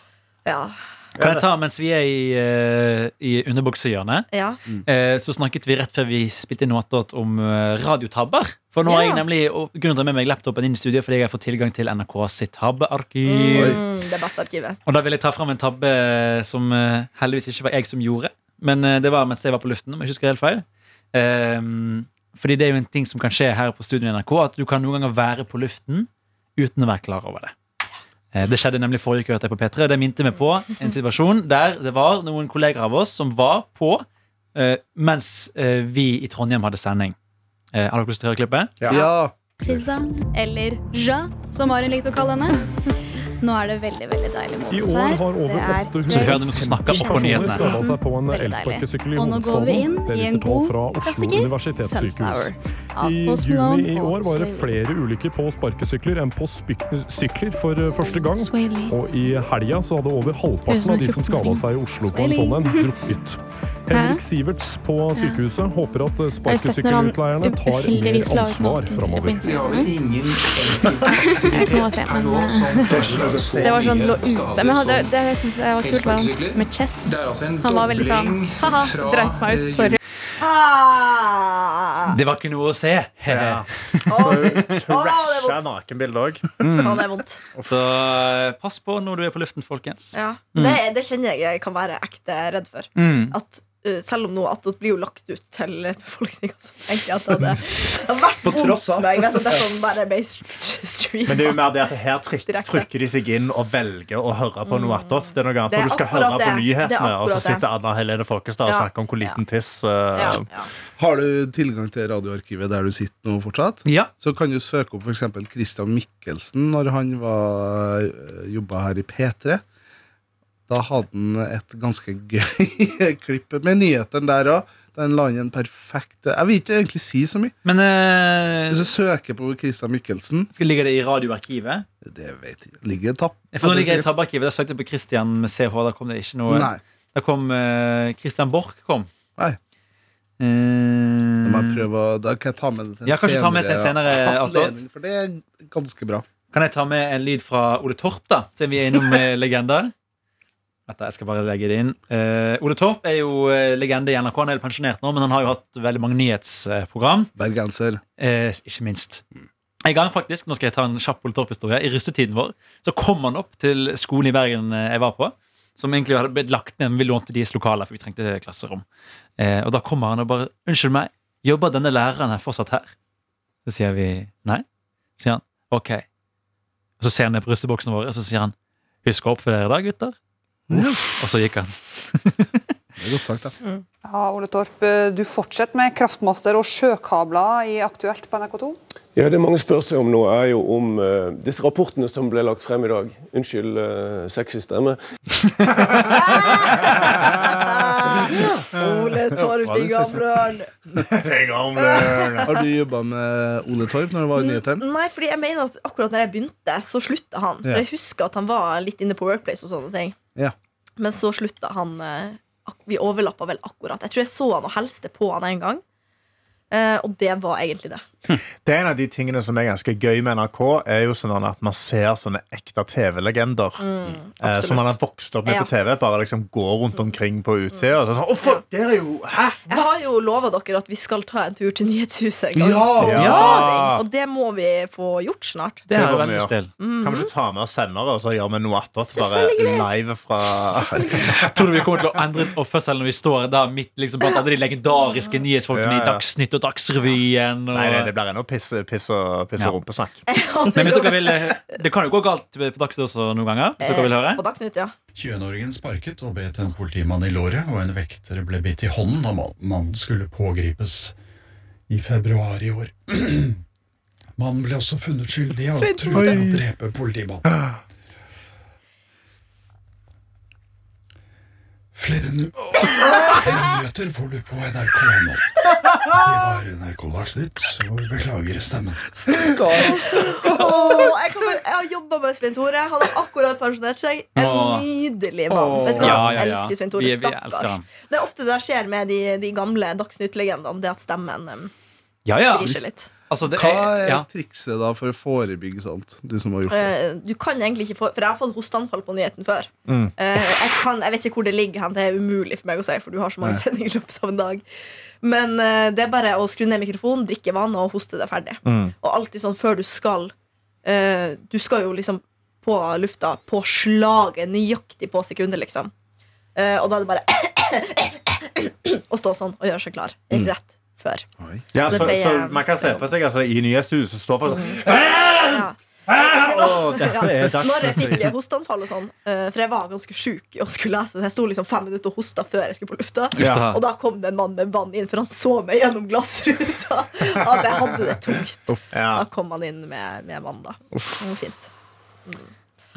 [SPEAKER 4] Ja,
[SPEAKER 5] Kan jeg ta mens vi er i, eh, i underbuksehjørnet?
[SPEAKER 4] ja.
[SPEAKER 5] Eh, så snakket vi rett før vi spilte inn Noatot om eh, radiotabber. For nå har
[SPEAKER 4] Ja.
[SPEAKER 5] jeg nemlig og grunnen til å ha med meg laptopen inn i studio fordi jeg har fått tilgang til NRK sitt tabbearkiv.
[SPEAKER 4] Mm, det beste arkivet.
[SPEAKER 5] Og da vil jeg ta fram en tabbe som eh, heldigvis ikke var jeg som gjorde. Men eh, det var mens jeg var på luften. om jeg ikke husker helt feil Ehm, Fordi det er jo en ting som kan skje her på studio i NRK, at du kan noen ganger være på luften uten å være klar over det. Eh, Det skjedde nemlig forrige uke, hørte jeg på P3. Det minte meg på en situasjon der det var noen kolleger av oss som var på eh, mens eh, vi i Trondheim hadde sending. Eh, Har dere lyst til å høre klippet?
[SPEAKER 3] Ja.
[SPEAKER 7] Sissa, eller Ja, som Maren likte å kalle henne. Nå er det veldig veldig deilig med
[SPEAKER 8] I
[SPEAKER 7] oss
[SPEAKER 8] år
[SPEAKER 7] her.
[SPEAKER 8] har over
[SPEAKER 7] Det er
[SPEAKER 8] 800
[SPEAKER 5] Så vi hører dem som snakker oppå
[SPEAKER 8] personer
[SPEAKER 5] nyhetene.
[SPEAKER 8] skada seg på en
[SPEAKER 7] Veldig deilig.
[SPEAKER 8] elsparkesykkel i
[SPEAKER 7] Og nå går vi inn
[SPEAKER 8] hovedstaden. Det
[SPEAKER 7] i en
[SPEAKER 8] viser tall
[SPEAKER 7] god
[SPEAKER 8] fra Oslo
[SPEAKER 7] klassiker,
[SPEAKER 8] universitetssykehus.
[SPEAKER 7] Sunflower. av
[SPEAKER 8] I
[SPEAKER 7] Post Malone
[SPEAKER 8] juni i
[SPEAKER 7] og
[SPEAKER 8] år var det
[SPEAKER 7] Sway Lee.
[SPEAKER 8] flere ulykker på sparkesykler enn på spyk- sykler for eh, første gang.
[SPEAKER 7] Sway Lee.
[SPEAKER 8] Og i helga så hadde over halvparten av de som skada seg i Oslo på en sånn en, drukket. Henrik Siverts på sykehutet håper at eh,
[SPEAKER 7] Har du sett når han
[SPEAKER 8] sparkesykkelutleierne tar mer
[SPEAKER 7] uheldigvis la ut noe
[SPEAKER 8] ansvar
[SPEAKER 7] på
[SPEAKER 8] framover.
[SPEAKER 7] internett? Nå ser jeg, men, eh, Det var sånn lå ute. Men det, det jeg synes jeg var kult, var han med chest. Han var veldig sånn ha-ha, dreit meg ut, sorry.
[SPEAKER 4] Ah!
[SPEAKER 5] Det var ikke noe å se.
[SPEAKER 2] Ja.
[SPEAKER 4] Å, fy- å, det er
[SPEAKER 2] Rasja
[SPEAKER 4] vondt.
[SPEAKER 2] nakenbilde òg.
[SPEAKER 4] Ja, det er vondt.
[SPEAKER 5] Så eh, pass på når du er på luften, folkens.
[SPEAKER 4] Ja. Det, det kjenner jeg jeg kan være ekte redd for.
[SPEAKER 5] Mm.
[SPEAKER 4] At eh, selv om noe attåt blir jo lagt ut til befolkninga, så tenker jeg at det hadde, det hadde vært
[SPEAKER 3] På
[SPEAKER 4] vondt
[SPEAKER 3] tross av.
[SPEAKER 4] for meg. hvis Det er sånn bare ble st- streamet.
[SPEAKER 2] Men det er jo mer det at her tryk,
[SPEAKER 4] Direkte.
[SPEAKER 2] trykker de seg inn og velger å høre på noe attåt. Det er noe
[SPEAKER 4] Mm. Det
[SPEAKER 2] annet
[SPEAKER 4] er
[SPEAKER 2] når du skal høre
[SPEAKER 4] akkurat
[SPEAKER 2] på
[SPEAKER 4] det. Det er
[SPEAKER 2] nyhetene, og så
[SPEAKER 4] akkurat det.
[SPEAKER 2] sitter Anna Helene Folkestad og
[SPEAKER 4] Ja.
[SPEAKER 2] snakker om hvor liten tiss eh,
[SPEAKER 4] ja, ja.
[SPEAKER 3] Har du tilgang til radioarkivet der du sitter nå fortsatt?
[SPEAKER 5] Ja.
[SPEAKER 3] Så kan du søke opp f.eks. Christian Mikkelsen når han var, jobba her i P3. Da hadde han et ganske gøy klipp med nyhetene der òg. Der han la inn en perfekt Jeg vil ikke egentlig si så mye.
[SPEAKER 5] Men eh,
[SPEAKER 3] Hvis du søker på Christian Mikkelsen
[SPEAKER 5] skal ligge det i radioarkivet?
[SPEAKER 3] Det vet jeg. Ligger tapp.
[SPEAKER 5] For nå ligger jeg i tabbearkivet. Da søkte jeg på Christian med CH. Da kom det ikke noe
[SPEAKER 3] Nei.
[SPEAKER 5] Da kom eh, Christian Borch. kom
[SPEAKER 3] Nei. Da må jeg
[SPEAKER 5] Eh,
[SPEAKER 3] prøve å Da kan jeg ta med det til en
[SPEAKER 5] Ja, kanskje ta med til en senere eh,
[SPEAKER 3] anledning,
[SPEAKER 5] attåt.
[SPEAKER 3] For det er ganske bra.
[SPEAKER 5] Kan jeg ta med en lyd fra Ole Torp, da? Siden vi er innom eh, legender? Vent da, jeg skal bare legge det inn. Eh, Ole Torp er jo eh, legende i NRK. Han er jo pensjonert nå, men han har jo hatt veldig mange nyhetsprogram.
[SPEAKER 3] Bergenser.
[SPEAKER 5] Eh, ikke minst. En gang faktisk, nå skal jeg ta en kjapp Ole Torp-historie, i russetiden vår så kom han opp til skolen i Bergen eh, jeg var på, som egentlig hadde blitt lagt ned, men vi lånte deres lokaler, for vi trengte klasserom. Eh, og da kommer han og bare 'Unnskyld meg, jobber denne læreren her fortsatt her?' Så sier vi nei. Så sier han OK. Og så ser han ned på russeboksen vår, og så sier han 'Husk å oppføre dere i dag, gutter'. Og så gikk han.
[SPEAKER 3] Det er godt sagt, da.
[SPEAKER 9] Ja, Ole Torp, du fortsetter med kraftmaster og sjøkabler i Aktuelt på NRK2.
[SPEAKER 10] Ja, Det mange spør seg om nå, er jo om eh, disse rapportene som ble lagt frem i dag. Unnskyld eh, sexy stemme.
[SPEAKER 4] Ole Torp,
[SPEAKER 3] det
[SPEAKER 4] de gamle
[SPEAKER 3] Har du jobba med Ole Torp når du var i nyhetene?
[SPEAKER 4] Nei, fordi jeg mener at akkurat når jeg begynte, så slutta han.
[SPEAKER 3] Ja.
[SPEAKER 4] For jeg husker at han var litt inne på Workplace og sånne ting.
[SPEAKER 3] Ja.
[SPEAKER 4] Men så slutta han eh, ak- Vi overlappa vel akkurat. Jeg tror jeg så han og helste på han en gang. Eh, og det var egentlig det.
[SPEAKER 2] Det er en av de tingene som er ganske gøy med NRK, er jo sånn at man ser sånne ekte TV-legender. eh,
[SPEAKER 4] Mm, absolutt.
[SPEAKER 2] som man har vokst opp med
[SPEAKER 4] Ja.
[SPEAKER 2] på TV. Bare liksom går rundt omkring på utsida. Og så er det sånn, å, for, det er jo, hæ?
[SPEAKER 4] Jeg har jo lova dere at vi skal ta en tur til Nyhetshuset en gang.
[SPEAKER 2] Ja!
[SPEAKER 4] Erfaring, Og det må vi få gjort snart.
[SPEAKER 5] Det har
[SPEAKER 2] var
[SPEAKER 5] jeg veldig
[SPEAKER 2] mye.
[SPEAKER 5] lyst til.
[SPEAKER 2] Kan vi ikke ta med oss sendere, og så gjør vi noe attåt? Bare
[SPEAKER 4] Mm. Selvfølgelig.
[SPEAKER 2] live fra
[SPEAKER 5] Tror du vi kommer til å endre oppførsel når vi står der midt liksom, blant alle de legendariske nyhetsfolkene
[SPEAKER 2] Ja, ja.
[SPEAKER 5] i Dagsnytt og Dagsrevyen? Og...
[SPEAKER 2] Nei, nei, det blir ennå piss piss og piss
[SPEAKER 5] Ja.
[SPEAKER 2] og rumpesnakk.
[SPEAKER 5] Men hvis dere vil, eh, det kan jo gå galt på Dagsnytt også noen ganger. Hvis dere vil høre
[SPEAKER 4] På Dagsnytt, ja.
[SPEAKER 11] 20-åringen sparket og bet en politimann i låret, og en vekter ble bitt i hånden da man- mannen skulle pågripes i februar i år. Mannen ble også funnet skyldig og
[SPEAKER 4] Svein
[SPEAKER 11] truet med å drepe politimannen. Flere nu- nyheter får du på nrk.no. Det var NRK Dagsnytt, og vi beklager stemmen.
[SPEAKER 4] Åh, jeg, kan bare, jeg har jobba med Svein Tore. Han har akkurat pensjonert seg. En
[SPEAKER 5] Åh.
[SPEAKER 4] nydelig mann.
[SPEAKER 2] Åh.
[SPEAKER 4] Vet du hva?
[SPEAKER 5] Ja, ja,
[SPEAKER 4] Jeg
[SPEAKER 5] ja.
[SPEAKER 4] elsker Svein
[SPEAKER 5] Vi-
[SPEAKER 4] Tore.
[SPEAKER 5] vi elsker
[SPEAKER 4] Stakkars.
[SPEAKER 5] ham.
[SPEAKER 4] Det er ofte det der skjer med de, de gamle Dagsnytt-legendene, det at stemmen um,
[SPEAKER 5] Ja, ja.
[SPEAKER 4] bryr seg litt.
[SPEAKER 5] Altså, det
[SPEAKER 3] Hva
[SPEAKER 5] er,
[SPEAKER 3] er
[SPEAKER 5] ja.
[SPEAKER 3] trikset da for å forebygge sånt, du som har gjort det?
[SPEAKER 4] Eh, Du kan egentlig ikke få For jeg har fått hosteanfall på nyheten før. Eh, Jeg, kan, jeg vet ikke hvor det ligger hen. Det er umulig for meg å si, for du har så mange sendinger i løpet av en dag. Men eh, det er bare å skru ned mikrofonen, drikke vann og hoste deg ferdig. Og alltid sånn før du skal eh, Du skal jo liksom på lufta på slaget, nøyaktig på sekundet, liksom. Eh, og da er det bare å stå sånn og gjøre seg klar rett før.
[SPEAKER 2] Ja,
[SPEAKER 4] Så
[SPEAKER 2] så,
[SPEAKER 4] det ble, Mm.
[SPEAKER 2] så
[SPEAKER 4] eh,
[SPEAKER 2] man kan se for seg altså, i Nyhetshuset står folk sånn
[SPEAKER 4] Ja.
[SPEAKER 2] «Åh, dette er
[SPEAKER 4] Når jeg
[SPEAKER 2] Dagsnytt.
[SPEAKER 4] fikk hosteanfall og sånn, eh, for jeg var ganske sjuk og skulle lese, så jeg sto liksom fem minutter og hosta før jeg skulle på lufta.
[SPEAKER 5] Ja.
[SPEAKER 4] Og da kom det en mann med vann inn, for han så meg gjennom glassruta. At jeg hadde det tungt.
[SPEAKER 2] Ja.
[SPEAKER 4] Da kom han inn med, med vann, da. Det var fint. Mm.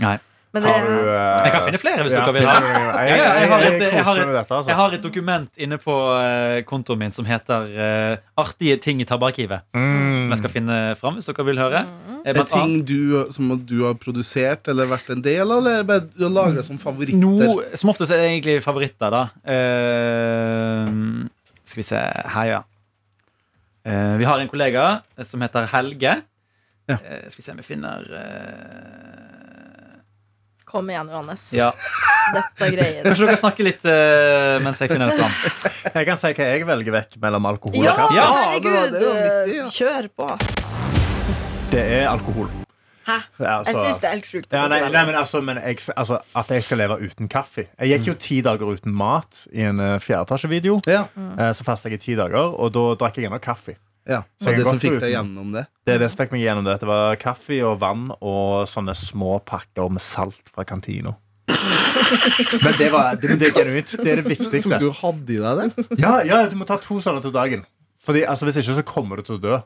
[SPEAKER 5] Nei.
[SPEAKER 4] Men det,
[SPEAKER 2] Har du, eh,
[SPEAKER 5] Jeg kan finne flere hvis
[SPEAKER 2] ja,
[SPEAKER 5] dere vil.
[SPEAKER 2] finner du- Jeg,
[SPEAKER 5] Ja, ja,
[SPEAKER 2] jeg,
[SPEAKER 5] jeg har et-
[SPEAKER 2] jeg
[SPEAKER 5] jeg har
[SPEAKER 2] koser meg
[SPEAKER 5] et-
[SPEAKER 2] med dette, altså.
[SPEAKER 5] Jeg har et dokument inne på eh, kontoen min som heter eh, 'Artige ting i tabbearkivet'. Som jeg skal finne fram hvis dere vil høre. Eh,
[SPEAKER 3] Er det
[SPEAKER 5] blant annet-
[SPEAKER 3] ting du, som du har produsert eller vært en del av, eller er det bare du har lagra som favoritter?
[SPEAKER 5] No, som oftest er det egentlig favoritter, da. Eh, skal vi se Her, ja. Eh, vi har en kollega som heter Helge.
[SPEAKER 3] Ja.
[SPEAKER 5] Eh, skal vi se om vi finner eh,
[SPEAKER 4] kom igjen, Johannes.
[SPEAKER 5] Ja.
[SPEAKER 4] Dette er greien.
[SPEAKER 5] Kanskje dere snakker litt eh, mens jeg finner det fram.
[SPEAKER 2] Jeg kan si hva jeg velger vekk mellom alkohol og
[SPEAKER 4] Ja,
[SPEAKER 2] kaffe.
[SPEAKER 5] Ja,
[SPEAKER 3] det var-
[SPEAKER 4] herregud!
[SPEAKER 3] det var midt i, ja.
[SPEAKER 4] eh, Kjør på.
[SPEAKER 2] Det er alkohol.
[SPEAKER 4] Hæ?
[SPEAKER 2] Ja,
[SPEAKER 4] Jeg
[SPEAKER 2] altså-
[SPEAKER 4] syns det er helt sjukt. at
[SPEAKER 2] Ja, nei,
[SPEAKER 4] dere
[SPEAKER 2] nei,
[SPEAKER 4] velger.
[SPEAKER 2] men altså, men jeg, altså, at jeg skal leve uten kaffe. Jeg gikk
[SPEAKER 4] Mm.
[SPEAKER 2] jo ti dager uten mat i en eh, fjerdeetasjevideo.
[SPEAKER 3] Ja,
[SPEAKER 4] Mm.
[SPEAKER 2] Eh, Så fasta jeg i ti dager, og da drakk jeg ennå kaffe.
[SPEAKER 3] ja.
[SPEAKER 2] Så jeg
[SPEAKER 3] Og det
[SPEAKER 2] kan
[SPEAKER 3] som
[SPEAKER 2] godt
[SPEAKER 3] fikk
[SPEAKER 2] gå
[SPEAKER 3] deg
[SPEAKER 2] uten.
[SPEAKER 3] gjennom det.
[SPEAKER 2] Det er det som fikk meg gjennom det. Det var kaffe og vann og sånne små pakker med salt fra kantina. Men det, var, det, men det er genuint. Det er det
[SPEAKER 3] Tror
[SPEAKER 2] viktigste.
[SPEAKER 3] du du hadde i deg det?
[SPEAKER 2] Ja, ja, du må ta to sånne til dagen. Fordi, altså, Hvis ikke så kommer du til å dø.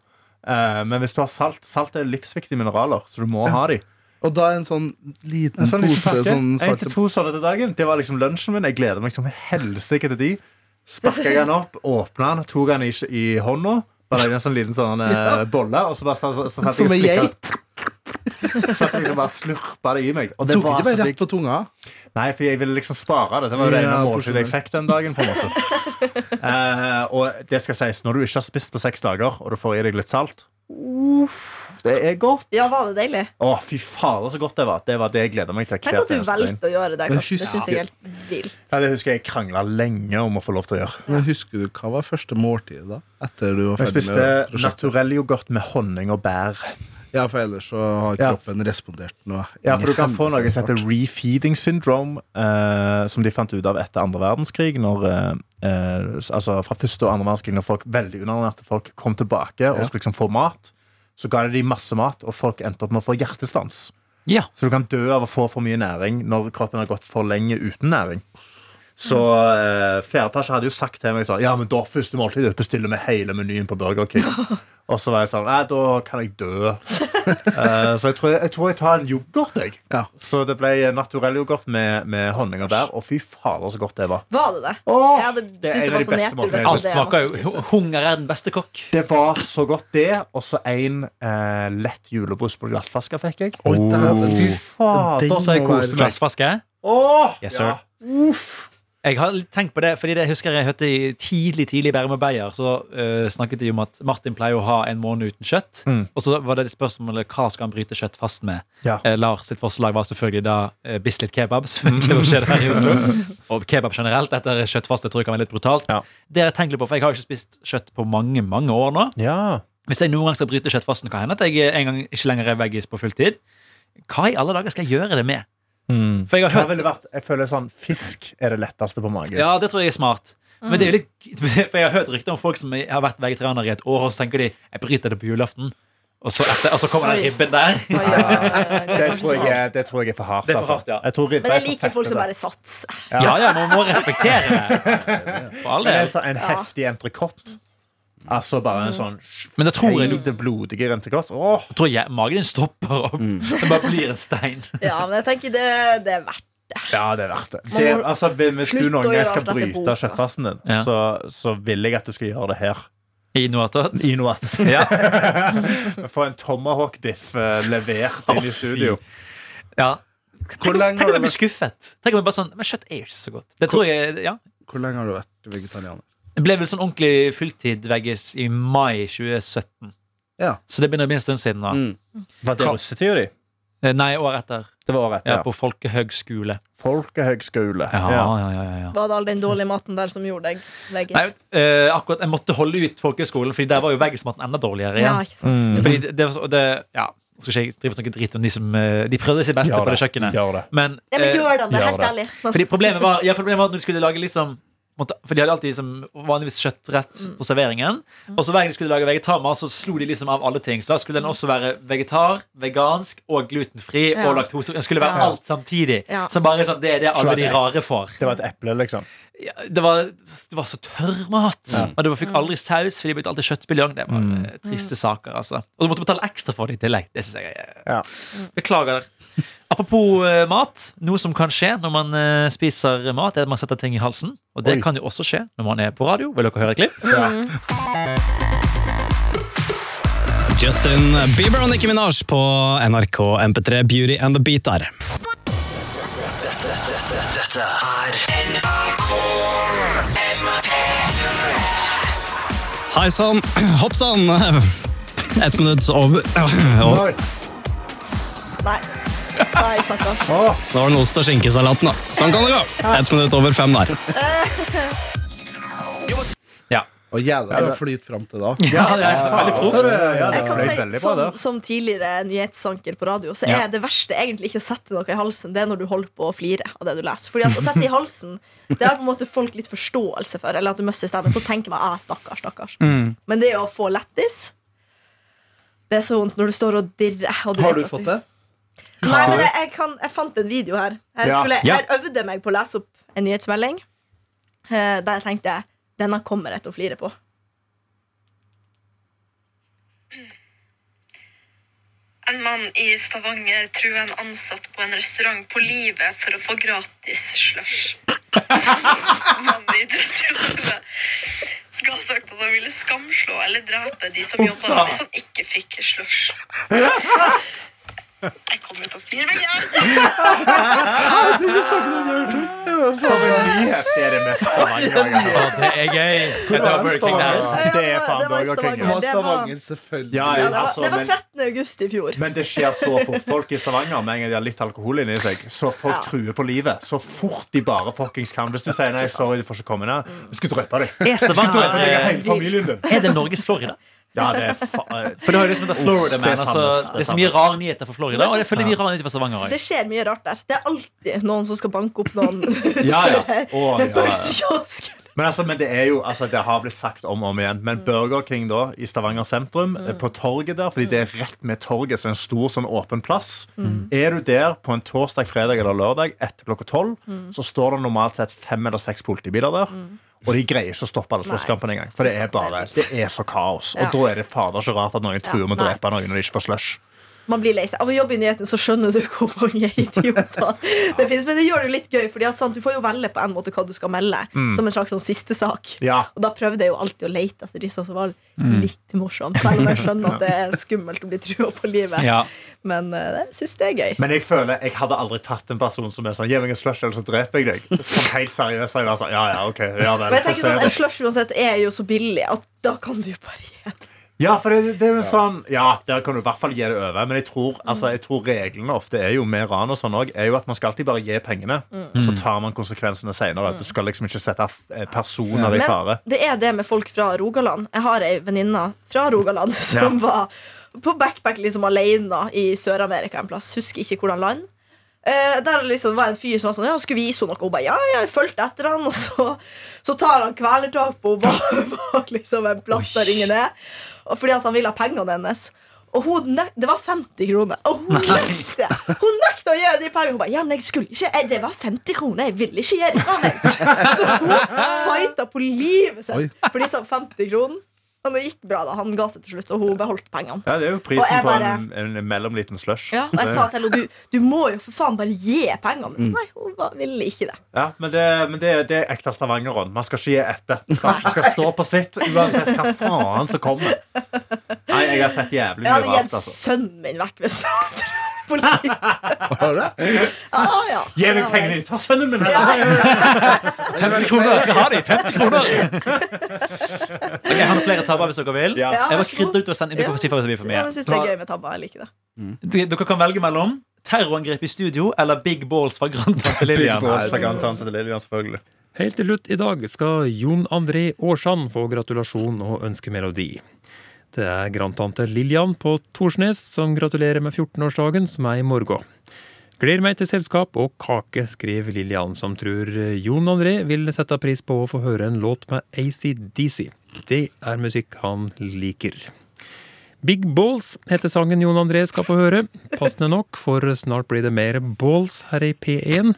[SPEAKER 2] Eh, men hvis du har salt Salt er livsviktige mineraler, så du må ha de.
[SPEAKER 3] Og da en sånn liten
[SPEAKER 2] En sånn liten
[SPEAKER 3] pose
[SPEAKER 2] pakke.
[SPEAKER 3] sånn
[SPEAKER 2] En til
[SPEAKER 3] svarte
[SPEAKER 2] to sånne til dagen. Det var liksom lunsjen min. Jeg gleder meg som helsike til de. Sparka jeg den opp, åpna den, tok den i, i hånda. Bare lagde en sånn liten sånn eh, bolle, og så, bare, så, så, så satt
[SPEAKER 3] Som en
[SPEAKER 2] jeg
[SPEAKER 3] geit.
[SPEAKER 2] og slikka. Satt jeg liksom bare slurpa det i meg. Og det
[SPEAKER 3] Tok
[SPEAKER 2] var
[SPEAKER 3] ikke bare
[SPEAKER 2] så
[SPEAKER 3] rett
[SPEAKER 2] digg.
[SPEAKER 3] på tunga?
[SPEAKER 2] Nei, for jeg ville liksom spare det. Det var jo det ene
[SPEAKER 3] Ja,
[SPEAKER 2] måltidet jeg fikk den dagen. på en måte Eh, Og det skal sies, når du ikke har spist på seks dager, og du får i deg litt salt, Det er godt.
[SPEAKER 4] Ja, var det deilig?
[SPEAKER 2] Å, fy fader, så godt det var. Det var det jeg gleda meg til.
[SPEAKER 4] Tenk
[SPEAKER 2] hvert
[SPEAKER 4] at du
[SPEAKER 2] eneste døgn.
[SPEAKER 4] valgte å gjøre det.
[SPEAKER 2] Men
[SPEAKER 4] Karsten. Det
[SPEAKER 2] kyss-
[SPEAKER 4] syns jeg er helt vilt.
[SPEAKER 2] Ja, det husker jeg krangla lenge om å få lov til å gjøre.
[SPEAKER 3] Men husker du hva var første måltid da? Etter du var
[SPEAKER 2] Jeg
[SPEAKER 3] ferdig
[SPEAKER 2] spiste
[SPEAKER 3] med prosjektet?
[SPEAKER 2] naturell yoghurt med honning og bær.
[SPEAKER 3] Ja, for ellers så har
[SPEAKER 2] Ja.
[SPEAKER 3] kroppen respondert noe.
[SPEAKER 2] Ja, for du kan få noe som
[SPEAKER 3] Helvete
[SPEAKER 2] heter refeeding syndrome, eh, som de fant ut av etter andre verdenskrig. Når, eh, eh, altså fra første og andre verdenskrig, når folk veldig underernærte folk kom tilbake og skulle liksom få mat, så ga de de masse mat, og folk endte opp med å få hjertestans. Så du kan dø av å få for mye næring når kroppen har gått for lenge uten næring. Så eh, fjerde etasje hadde jo sagt til meg sånn, Ja, men da første måltid bestiller vi hele menyen på Burger King. Og så var jeg sånn Nei, da kan jeg dø. Eh, så jeg tror jeg, jeg tror jeg tar en yoghurt, jeg. Så det ble naturell yoghurt med, med honning og bær. Og fy fader, så godt det var.
[SPEAKER 4] Var det det? jeg hadde
[SPEAKER 2] det
[SPEAKER 4] syntes
[SPEAKER 2] er
[SPEAKER 4] det
[SPEAKER 2] en
[SPEAKER 4] var sånn så
[SPEAKER 2] av de beste
[SPEAKER 4] nedtur.
[SPEAKER 2] måltidene.
[SPEAKER 5] Alt smaker jo Hunger er den beste kokk.
[SPEAKER 2] Det var så godt, det. Og så en eh, lett julebrus på glassflaske fikk jeg.
[SPEAKER 5] Oi, dæven.
[SPEAKER 2] Fy fader,
[SPEAKER 5] Den
[SPEAKER 2] så jeg
[SPEAKER 5] må være-
[SPEAKER 2] koste meg.
[SPEAKER 5] Glassflaske?
[SPEAKER 2] Åh,
[SPEAKER 5] Yes, sir. Jeg har litt tenkt på det, fordi det husker jeg hørte i tidlig tidlig i Bærum og Beyer, så eh, snakket de om at Martin pleier å ha en måned uten kjøtt.
[SPEAKER 2] Mm.
[SPEAKER 5] Og så var det spørsmålet hva skal han bryte kjøtt fast med.
[SPEAKER 2] Ja.
[SPEAKER 5] Eh, Lars sitt forslag var selvfølgelig da eh, Bislett kebab. selvfølgelig skjer det her i Oslo. Og kebab generelt etter kjøttfaste tror jeg kan være litt brutalt. Det har jeg tenkt litt på, for jeg har jo ikke spist kjøtt på mange, mange år nå. Hvis jeg noen gang skal bryte kjøttfasten, kan hende at jeg en gang ikke lenger er veggis på fulltid. Hva i alle dager skal jeg gjøre det med? For jeg har
[SPEAKER 2] Hva
[SPEAKER 5] hørt-
[SPEAKER 2] ville vært, jeg føler sånn Fisk er det letteste på magen.
[SPEAKER 5] Ja, det tror jeg er smart. Men
[SPEAKER 2] Mm.
[SPEAKER 5] det er jo litt, for Jeg har hørt rykter om folk som har vært vegetarianere i et år, og så tenker de jeg bryter det på julaften. Og så, etter, og så kommer den
[SPEAKER 4] Oi.
[SPEAKER 5] ribben der.
[SPEAKER 2] Det tror jeg, er- det tror jeg er for hardt.
[SPEAKER 5] Det er for
[SPEAKER 2] altså.
[SPEAKER 5] hardt, ja.
[SPEAKER 2] Jeg tror
[SPEAKER 4] Men
[SPEAKER 2] ribbe
[SPEAKER 4] jeg
[SPEAKER 2] er for
[SPEAKER 4] liker folk
[SPEAKER 2] fett,
[SPEAKER 4] som
[SPEAKER 2] det.
[SPEAKER 4] bare satser.
[SPEAKER 5] Ja, ja, man må respektere det. For all
[SPEAKER 2] Men
[SPEAKER 5] del.
[SPEAKER 2] en sånn- en heftig entrecôte. Altså bare en sånn
[SPEAKER 5] Men da tror jeg-
[SPEAKER 2] feide, blodige entrecôte. Åh.
[SPEAKER 5] Jeg tror jeg, magen din stopper opp. Det bare blir en stein.
[SPEAKER 4] Ja, men jeg tenker det, det er verdt
[SPEAKER 2] Ja, det er verdt det.
[SPEAKER 4] Man må
[SPEAKER 2] altså, hvis du
[SPEAKER 4] slutte å
[SPEAKER 2] noen gang
[SPEAKER 4] gjøre
[SPEAKER 2] skal
[SPEAKER 4] alt etter
[SPEAKER 2] bryte
[SPEAKER 4] boka.
[SPEAKER 2] kjøttfasten din,
[SPEAKER 5] Ja.
[SPEAKER 2] så, så vil jeg at du skal gjøre det her.
[SPEAKER 5] I noe attåt?
[SPEAKER 2] I noe attåt.
[SPEAKER 5] Ja.
[SPEAKER 2] Få en tomahawk-biff eh, levert inn i studio.
[SPEAKER 5] Ja.
[SPEAKER 2] Hvor
[SPEAKER 5] Tenk,
[SPEAKER 2] lenge
[SPEAKER 5] tenk
[SPEAKER 2] har
[SPEAKER 5] om jeg
[SPEAKER 2] det
[SPEAKER 5] blir skuffet. Tenk om jeg bare sånn, Men kjøtt er jo ikke så godt. Det tror jeg, ja
[SPEAKER 3] Hvor lenge har du vært vegetarianer?
[SPEAKER 5] Jeg ble vel sånn ordentlig fulltid-veggis i mai 2017. Så det begynner å bli en stund siden.
[SPEAKER 2] Mm.
[SPEAKER 5] da
[SPEAKER 2] Var det russetida di?
[SPEAKER 5] Eh, Nei, året etter.
[SPEAKER 2] Det var året etter,
[SPEAKER 5] ja. På folkehøgskole.
[SPEAKER 2] Folkehøgskole.
[SPEAKER 5] Ja, ja, ja, ja, ja.
[SPEAKER 4] Var det all den dårlige maten der som gjorde deg veggis?
[SPEAKER 5] Nei, eh, akkurat, jeg måtte holde ut folkehøgskolen, Fordi der var jo veggismaten enda dårligere. igjen.
[SPEAKER 4] Ja, ikke sant. Mm.
[SPEAKER 5] Fordi det, det, var så- det, ja, nå skal ikke jeg drive og snakke dritt om de som eh, De prøvde sitt beste
[SPEAKER 2] Gjør
[SPEAKER 5] på det
[SPEAKER 2] det,
[SPEAKER 5] kjøkkenet.
[SPEAKER 2] gjør det.
[SPEAKER 5] Men,
[SPEAKER 4] Ja, men
[SPEAKER 5] eh,
[SPEAKER 4] gjør det, det er
[SPEAKER 5] gjør
[SPEAKER 4] helt ærlig.
[SPEAKER 5] Fordi problemet var, ja, problemet var at når de skulle lage liksom måtte- for De hadde alltid liksom, vanligvis kjøttrett
[SPEAKER 4] Mm.
[SPEAKER 5] på serveringen. Og så hver gang de skulle lage vegetarmat, så slo de liksom av alle ting. Så da skulle den også være vegetar, vegansk og glutenfri
[SPEAKER 2] Ja.
[SPEAKER 5] og laktose. Den skulle være
[SPEAKER 2] Ja.
[SPEAKER 5] alt samtidig.
[SPEAKER 2] Ja.
[SPEAKER 5] Som bare sånn, Det er det alle de rare får.
[SPEAKER 2] Det var et eple, liksom.
[SPEAKER 5] Ja, det, var, det var så tørr mat. Og det var, fikk aldri saus, for de brukte alltid kjøttbuljong. Det var eh, triste saker, altså. Og du måtte betale ekstra for det i tillegg. Det synes jeg er- Beklager. Apropos eh, mat. Noe som kan skje når man eh, spiser mat, er at man setter ting i halsen. Og det
[SPEAKER 2] Oi.
[SPEAKER 5] kan jo også skje når man er på radio. Vil dere høre et klipp?
[SPEAKER 12] Justin Bieber og Nicki Minaj på NRK MP3 Beauty and the Beat der.
[SPEAKER 6] Dette er NRK MP3.
[SPEAKER 12] Hei sann, hopp sann! Ett minutt over over.
[SPEAKER 4] Nei. Nei, stakkars.
[SPEAKER 12] Det var den ost- og skinkesalaten, da. Sånn kan det gå. Ett minutt over fem der.
[SPEAKER 5] Ja.
[SPEAKER 3] Og jævla bra flyt fram til da.
[SPEAKER 5] Ja, det er veldig proft.
[SPEAKER 3] Ja, det
[SPEAKER 4] Jeg kan
[SPEAKER 3] fløyt
[SPEAKER 4] si, sånn
[SPEAKER 3] veldig bra
[SPEAKER 4] som,
[SPEAKER 3] der.
[SPEAKER 4] som tidligere nyhetsanker på radio, så
[SPEAKER 3] Ja.
[SPEAKER 4] er det verste egentlig ikke å sette noe i halsen. Det er når du holder på å flire av det du leser. Fordi at å sette i halsen, det har på en måte folk litt forståelse for. Eller at du mister stemmen. Så tenker man ah, stakkars, stakkars.
[SPEAKER 3] Mm.
[SPEAKER 4] Men det å få lættis Det er så vondt når du står og dirrer. Og
[SPEAKER 3] Har
[SPEAKER 4] vet
[SPEAKER 3] du
[SPEAKER 4] at
[SPEAKER 3] fått det?
[SPEAKER 4] Nei, men jeg, jeg, kan, jeg fant en video her. Her,
[SPEAKER 3] Ja.
[SPEAKER 4] skulle,
[SPEAKER 3] Ja.
[SPEAKER 4] her øvde jeg meg på å lese opp en nyhetsmelding. eh, Der jeg tenkte denne kommer jeg til å flire på.
[SPEAKER 3] Eh,
[SPEAKER 13] En mann i Stavanger truer en ansatt på en restaurant på livet for å få gratis slush. Mannen i 30-årene skal ha sagt at han ville skamslå eller drepe de som jobba der hvis han ikke fikk slush. Jeg kom ut og flir meg igjen.
[SPEAKER 2] Som en nyhet er det mest Stavanger.
[SPEAKER 5] Å, det er gøy! Det var Burger King, det her.
[SPEAKER 2] Det er faen
[SPEAKER 4] Det var i
[SPEAKER 2] Burger King.
[SPEAKER 4] Stavanger. Det var-
[SPEAKER 2] selvfølgelig.
[SPEAKER 4] Ja,
[SPEAKER 2] Ja,
[SPEAKER 4] det,
[SPEAKER 2] ja,
[SPEAKER 4] var,
[SPEAKER 2] altså,
[SPEAKER 4] det var
[SPEAKER 2] men-
[SPEAKER 4] 13. august i fjor.
[SPEAKER 2] Men det skjer så fort. Folk i Stavanger med en gang de har litt alkohol inni seg, så folk truer på livet. Så fort de bare fuckings kan. Hvis du sier nei, sorry, du får ikke komme ned, du skulle drepe deg.
[SPEAKER 5] Er
[SPEAKER 2] Du skulle
[SPEAKER 5] Stavanger- eh,
[SPEAKER 2] drepe deg og hele familien din.
[SPEAKER 5] Er det Norges Florida?
[SPEAKER 2] Ja, det er fa-
[SPEAKER 5] For det har jo det som heter Florida Man.
[SPEAKER 2] Det er
[SPEAKER 5] Altså,
[SPEAKER 2] Sandnes,
[SPEAKER 5] det er så
[SPEAKER 2] Sandnes.
[SPEAKER 5] mye rare nyheter fra Florida, og jeg føler mye rare nyheter fra Stavanger
[SPEAKER 4] Det
[SPEAKER 5] òg.
[SPEAKER 4] skjer mye rart der. Det er alltid noen som skal banke opp noen.
[SPEAKER 2] Ja, ja. Å,
[SPEAKER 4] Ved
[SPEAKER 2] ja, ja.
[SPEAKER 4] pølsekiosk.
[SPEAKER 2] Men, altså, men det er jo, altså, det har blitt sagt om og om igjen.
[SPEAKER 4] Mm.
[SPEAKER 2] Men Burger King da, i Stavanger sentrum, eh, på torget der, fordi det er rett med torget, så det er en stor sånn åpen plass.
[SPEAKER 14] Mm.
[SPEAKER 2] Er du der på en torsdag, fredag eller lørdag etter klokka tolv,
[SPEAKER 4] Mm.
[SPEAKER 2] så står det normalt sett fem eller seks politibiler der. Og de greier ikke å stoppe alle slåsskampen engang. For det er bare, det er så kaos. Og
[SPEAKER 4] Ja.
[SPEAKER 2] da er det fader ikke rart at noen
[SPEAKER 4] Ja,
[SPEAKER 2] truer med å
[SPEAKER 4] nei.
[SPEAKER 2] drepe noen når de ikke får slush.
[SPEAKER 4] Man blir lei seg. Av å jobbe i nyhetene så skjønner du hvor mange idioter det finnes. Men det gjør det jo litt gøy, Fordi at sant, du får jo velge på en måte hva du skal melde.
[SPEAKER 2] Mm.
[SPEAKER 4] Som en slags sånn siste sak.
[SPEAKER 2] Ja.
[SPEAKER 4] Og da prøvde jeg jo alltid å lete etter disse som var
[SPEAKER 2] Mm.
[SPEAKER 4] litt morsomme. Selv om jeg skjønner at det er skummelt å bli trua på livet.
[SPEAKER 2] Ja.
[SPEAKER 4] Men eh, jeg syns det er gøy.
[SPEAKER 2] Men jeg føler jeg hadde aldri tatt en person som er sånn Gi meg en slush, eller så dreper jeg deg. Som helt seriøs. Jeg var sånn, ja, ja, ok, ja vel,
[SPEAKER 4] Men jeg
[SPEAKER 2] få
[SPEAKER 4] tenker
[SPEAKER 2] se
[SPEAKER 4] sånn,
[SPEAKER 2] det.
[SPEAKER 4] En slush uansett er jo så billig at da kan du bare
[SPEAKER 2] Ja, for det, det er jo en sånn Ja, der kan du i hvert fall gi det over. Men jeg tror, altså, jeg tror reglene ofte er jo med ran og sånn også, er jo at man skal alltid bare gi pengene.
[SPEAKER 4] Mm.
[SPEAKER 2] Og så tar man konsekvensene senere. Du skal liksom ikke sette eh, personer i fare.
[SPEAKER 4] Men det er det med folk fra Rogaland. Jeg har ei venninne fra Rogaland som
[SPEAKER 2] Ja.
[SPEAKER 4] var på backpack liksom alene i Sør-Amerika en plass. Husker ikke hvordan land. Eh, der liksom var en fyr som var sånn, ja, skulle vise henne noe. Hun bare ja, ja, jeg fulgte etter han. Og så, så tar han kvelertak på henne bak liksom en plass der ingen er. Og fordi at han ville ha pengene hennes. Og hun nek Det var 50 kroner. Og hun nekta Hun nekta å gi de pengene. Hun bare, ja, men jeg skulle ikke jeg, Det var 50 kroner. Jeg ville ikke gi det fra meg. Så hun fighta på livet
[SPEAKER 2] Oi.
[SPEAKER 4] sitt for disse 50 kronene. Men det gikk bra, da. Han ga seg til slutt, og hun beholdt pengene.
[SPEAKER 2] Ja, det er
[SPEAKER 4] Og
[SPEAKER 2] jo
[SPEAKER 4] jeg
[SPEAKER 2] prisen på
[SPEAKER 4] bare-
[SPEAKER 2] en, en mellomliten slush.
[SPEAKER 4] Ja, og jeg
[SPEAKER 2] Det-
[SPEAKER 4] sa til henne du, du må jo for faen bare gi pengene. Men
[SPEAKER 2] Mm.
[SPEAKER 4] Nei, hun ba- ville ikke det.
[SPEAKER 2] Ja, men det, men det, det er ekte Stavanger-ånd. Man skal ikke gi etter. Man skal stå på sitt uansett hva faen som kommer. Nei, jeg har sett
[SPEAKER 4] Jeg
[SPEAKER 2] jævlig mye
[SPEAKER 4] hadde gitt
[SPEAKER 2] rart, altså.
[SPEAKER 4] sønnen min vekk hvis han traff på livet. Ja, ja.
[SPEAKER 2] Gi meg pengene dine! Ta sønnen min!
[SPEAKER 4] Ja.
[SPEAKER 5] 50 kroner! Jeg skal ha de! 50 kroner! Ok, Jeg har flere tabber hvis dere vil.
[SPEAKER 4] Ja,
[SPEAKER 5] Jeg
[SPEAKER 4] vær
[SPEAKER 5] bare
[SPEAKER 4] så god.
[SPEAKER 5] krydder ut og sender dere får si fra hvis det blir for
[SPEAKER 4] Ja, Jeg syns det er
[SPEAKER 5] mye.
[SPEAKER 4] gøy med tabber. Jeg liker det.
[SPEAKER 5] D- Dere kan velge mellom terrorangrep i studio eller Big Balls fra grandtante Lillian.
[SPEAKER 2] Big balls fra grandtante Lillian, selvfølgelig.
[SPEAKER 8] Helt til slutt i dag skal Jon André Aarsand få gratulasjon og ønskemelodi. Det er grandtante Lillian på Torsnes som gratulerer med 14-årsdagen, som er i morgen. Gleder meg til selskap og kake, skriver Lillian, som tror eh, Jon André vil sette pris på å få høre en låt med ACDC. Det er musikk han liker. Big Balls heter sangen Jon André skal få høre. Passende nok, for snart blir det mer balls her i P1.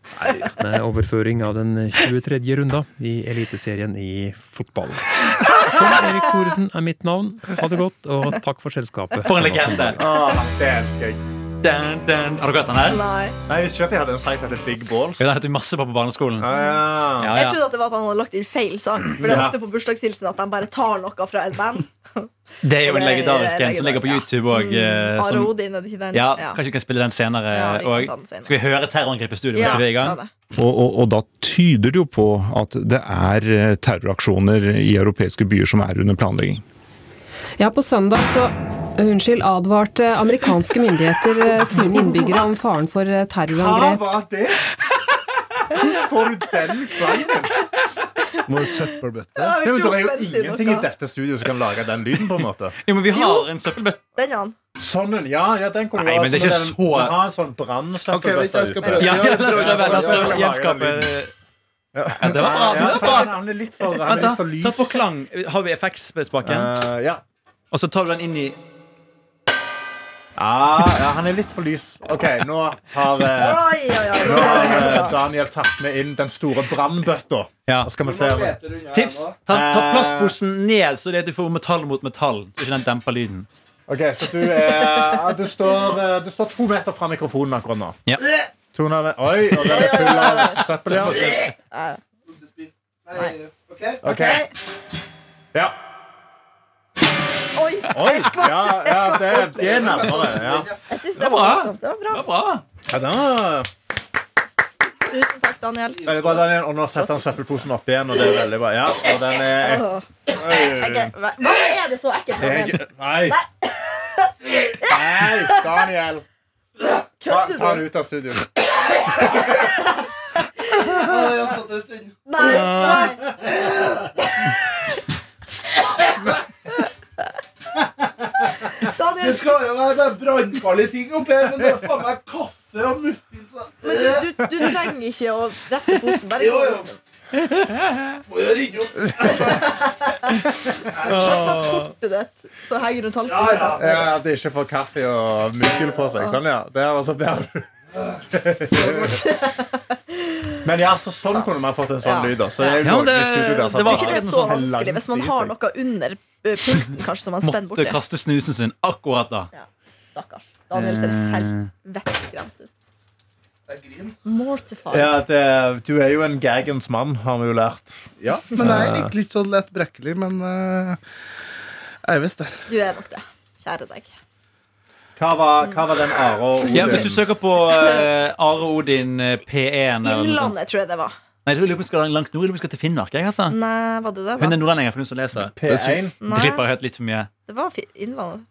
[SPEAKER 8] Med overføring av den 23. runda i Eliteserien i fotball. Tom Erik Thoresen er mitt navn. Ha det godt, og takk for selskapet.
[SPEAKER 5] For en legende.
[SPEAKER 2] Åh, det elsker jeg.
[SPEAKER 5] Dun, dun. Har dere hørt den her?
[SPEAKER 4] Nei.
[SPEAKER 2] Nei, Jeg visste ikke at jeg hadde en sang som heter Big Balls.
[SPEAKER 5] Jo, Den heter vi masse på på barneskolen.
[SPEAKER 2] Ah,
[SPEAKER 5] Ja,
[SPEAKER 4] Jeg
[SPEAKER 5] ja.
[SPEAKER 4] trodde at det var at han hadde lagt inn feil sang. For det er
[SPEAKER 5] Ja.
[SPEAKER 4] ofte på bursdagshilsen at de bare tar noe fra et band. Mm.
[SPEAKER 5] Det er jo
[SPEAKER 4] Det
[SPEAKER 5] en
[SPEAKER 4] er
[SPEAKER 5] legendarisk en som ligger på YouTube òg.
[SPEAKER 4] Are Odin, er det ikke den?
[SPEAKER 5] eh, Ja,
[SPEAKER 4] Ja.
[SPEAKER 5] kanskje vi kan spille den senere
[SPEAKER 4] vi kan
[SPEAKER 5] òg.
[SPEAKER 4] ta den senere.
[SPEAKER 5] Skal vi høre terrorangrepet i studio
[SPEAKER 4] Ja,
[SPEAKER 5] mens vi er i
[SPEAKER 4] ta
[SPEAKER 5] gang?
[SPEAKER 4] det.
[SPEAKER 14] Og, og, og da tyder det jo på at det er eh, terroraksjoner i europeiske byer som er under planlegging.
[SPEAKER 15] Ja, på søndag så Unnskyld, advarte amerikanske myndigheter eh, sine innbyggere om faren for eh,
[SPEAKER 2] Hva
[SPEAKER 15] terrorangrep.
[SPEAKER 2] var det? Hvordan får du den klangen?
[SPEAKER 3] Må søppelbøtte.
[SPEAKER 4] Ja, vi
[SPEAKER 2] Ja, men
[SPEAKER 4] tror
[SPEAKER 2] det er jo
[SPEAKER 4] spent i
[SPEAKER 2] ingenting i
[SPEAKER 4] noe.
[SPEAKER 2] dette studioet som kan lage den lyden, på en måte.
[SPEAKER 5] Jo, men vi har en søppelbøtte.
[SPEAKER 4] Den er han.
[SPEAKER 2] Sånn en, ja, ja, den kunne
[SPEAKER 5] Nei,
[SPEAKER 2] ha
[SPEAKER 5] men det er
[SPEAKER 2] sånn
[SPEAKER 5] ikke
[SPEAKER 2] en-
[SPEAKER 5] så-
[SPEAKER 2] Ha en sånn brannsøppelbøtte
[SPEAKER 5] Ok, vent, jeg skal
[SPEAKER 2] ute.
[SPEAKER 5] prøve. Ja, ja, la oss prøve, la oss prøve å gjenskape- Ja, det var bra, det var bra.
[SPEAKER 2] Han er litt for,
[SPEAKER 5] Vent,
[SPEAKER 2] han er
[SPEAKER 5] da.
[SPEAKER 2] litt for lys.
[SPEAKER 5] Ta på klang. Har vi FX-spaken?
[SPEAKER 2] Eh, ja.
[SPEAKER 5] Og så tar du den inn i
[SPEAKER 2] Ja, Ah, ja, han er litt for lys. OK, nå har, eh,
[SPEAKER 4] Oi, oi, oi.
[SPEAKER 2] nå har eh, Daniel tatt med inn den store brannbøtta.
[SPEAKER 5] Ja.
[SPEAKER 2] Skal vi se
[SPEAKER 5] Tips! Ta, ta plastposen ned, så det at du får metall mot metall. Så ikke den demper lyden.
[SPEAKER 2] OK, så du, er, du, står, eh, du står to meter fra mikrofonen akkurat nå.
[SPEAKER 5] Ja.
[SPEAKER 2] To nær- Oi, og den er full av søppel, ja. OK. Ja.
[SPEAKER 4] Oi!
[SPEAKER 2] Oi!
[SPEAKER 4] Jeg skvatt.
[SPEAKER 2] Ja,
[SPEAKER 4] Jeg
[SPEAKER 2] ja,
[SPEAKER 4] skvatt.
[SPEAKER 2] det, det er nærmere. Ja.
[SPEAKER 4] Jeg synes
[SPEAKER 2] Det
[SPEAKER 4] det
[SPEAKER 2] var
[SPEAKER 4] var
[SPEAKER 2] bra.
[SPEAKER 4] morsomt. Det var bra.
[SPEAKER 2] Ja, den var
[SPEAKER 4] Tusen takk, Daniel.
[SPEAKER 2] veldig bra, Daniel. Og nå setter han søppelposen opp igjen, og det er veldig bra. Ja, og den er...
[SPEAKER 4] Åh.
[SPEAKER 2] Oi.
[SPEAKER 4] Ok, hva- Hva er det så ekkelt med
[SPEAKER 2] Jeg,
[SPEAKER 4] den?
[SPEAKER 2] nei. Nei, Daniel. Ta,
[SPEAKER 4] Kødder
[SPEAKER 2] ta
[SPEAKER 4] du?
[SPEAKER 2] den ut av studio.
[SPEAKER 3] Jeg har stått der en stund.
[SPEAKER 4] Nei, nei.
[SPEAKER 3] Det skal jo være bare brannfarlige ting oppi her, men det er faen meg kaffe og muffins og-
[SPEAKER 4] Men du, du, du trenger ikke å rette posen. Bare
[SPEAKER 3] Jo,
[SPEAKER 4] gå.
[SPEAKER 3] jo. Må jo rydde opp.
[SPEAKER 4] Pass på at kortet ditt som henger rundt halsen.
[SPEAKER 2] Ja, at de ikke får kaffe og muggull på seg. Sånn, ja. Det var så bedre. Men ja, så sånn kunne man fått en sånn lyd. da. Så det, er
[SPEAKER 5] Ja, men
[SPEAKER 2] det,
[SPEAKER 5] det-
[SPEAKER 2] der,
[SPEAKER 5] det var
[SPEAKER 2] at-
[SPEAKER 5] ikke
[SPEAKER 4] Det er så
[SPEAKER 2] sånn
[SPEAKER 4] vanskelig hvis man har noe under eh, pulten kanskje som man spenner
[SPEAKER 5] Måtte
[SPEAKER 4] borti.
[SPEAKER 5] kaste snusen sin akkurat da.
[SPEAKER 4] Stakkars. Daniel ser helt vettskremt ut. Mortified.
[SPEAKER 2] Ja, det, Du er jo en gaggens mann, har vi jo lært.
[SPEAKER 3] Ja, Men jeg er egentlig litt sånn lett brekkelig, men eh, jeg er visst der.
[SPEAKER 4] Du er nok det. Kjære deg.
[SPEAKER 2] Hva var, hva var den Are og Odin?
[SPEAKER 5] Ja, hvis du søker på eh, Are Odin eh, P1 eller noe sånt.
[SPEAKER 4] Innlandet, tror jeg det var.
[SPEAKER 5] Nei, jeg tror- jeg lurer på om vi skal langt nord, eller om vi skal til Finnmark. Jeg, altså.
[SPEAKER 4] Nei, var det det?
[SPEAKER 5] Hun
[SPEAKER 4] da?
[SPEAKER 5] er nordlending, for hun som leser.
[SPEAKER 2] P1.
[SPEAKER 4] Nei.
[SPEAKER 5] Dripper høyt litt for mye.
[SPEAKER 4] Det var fi- Innlandet.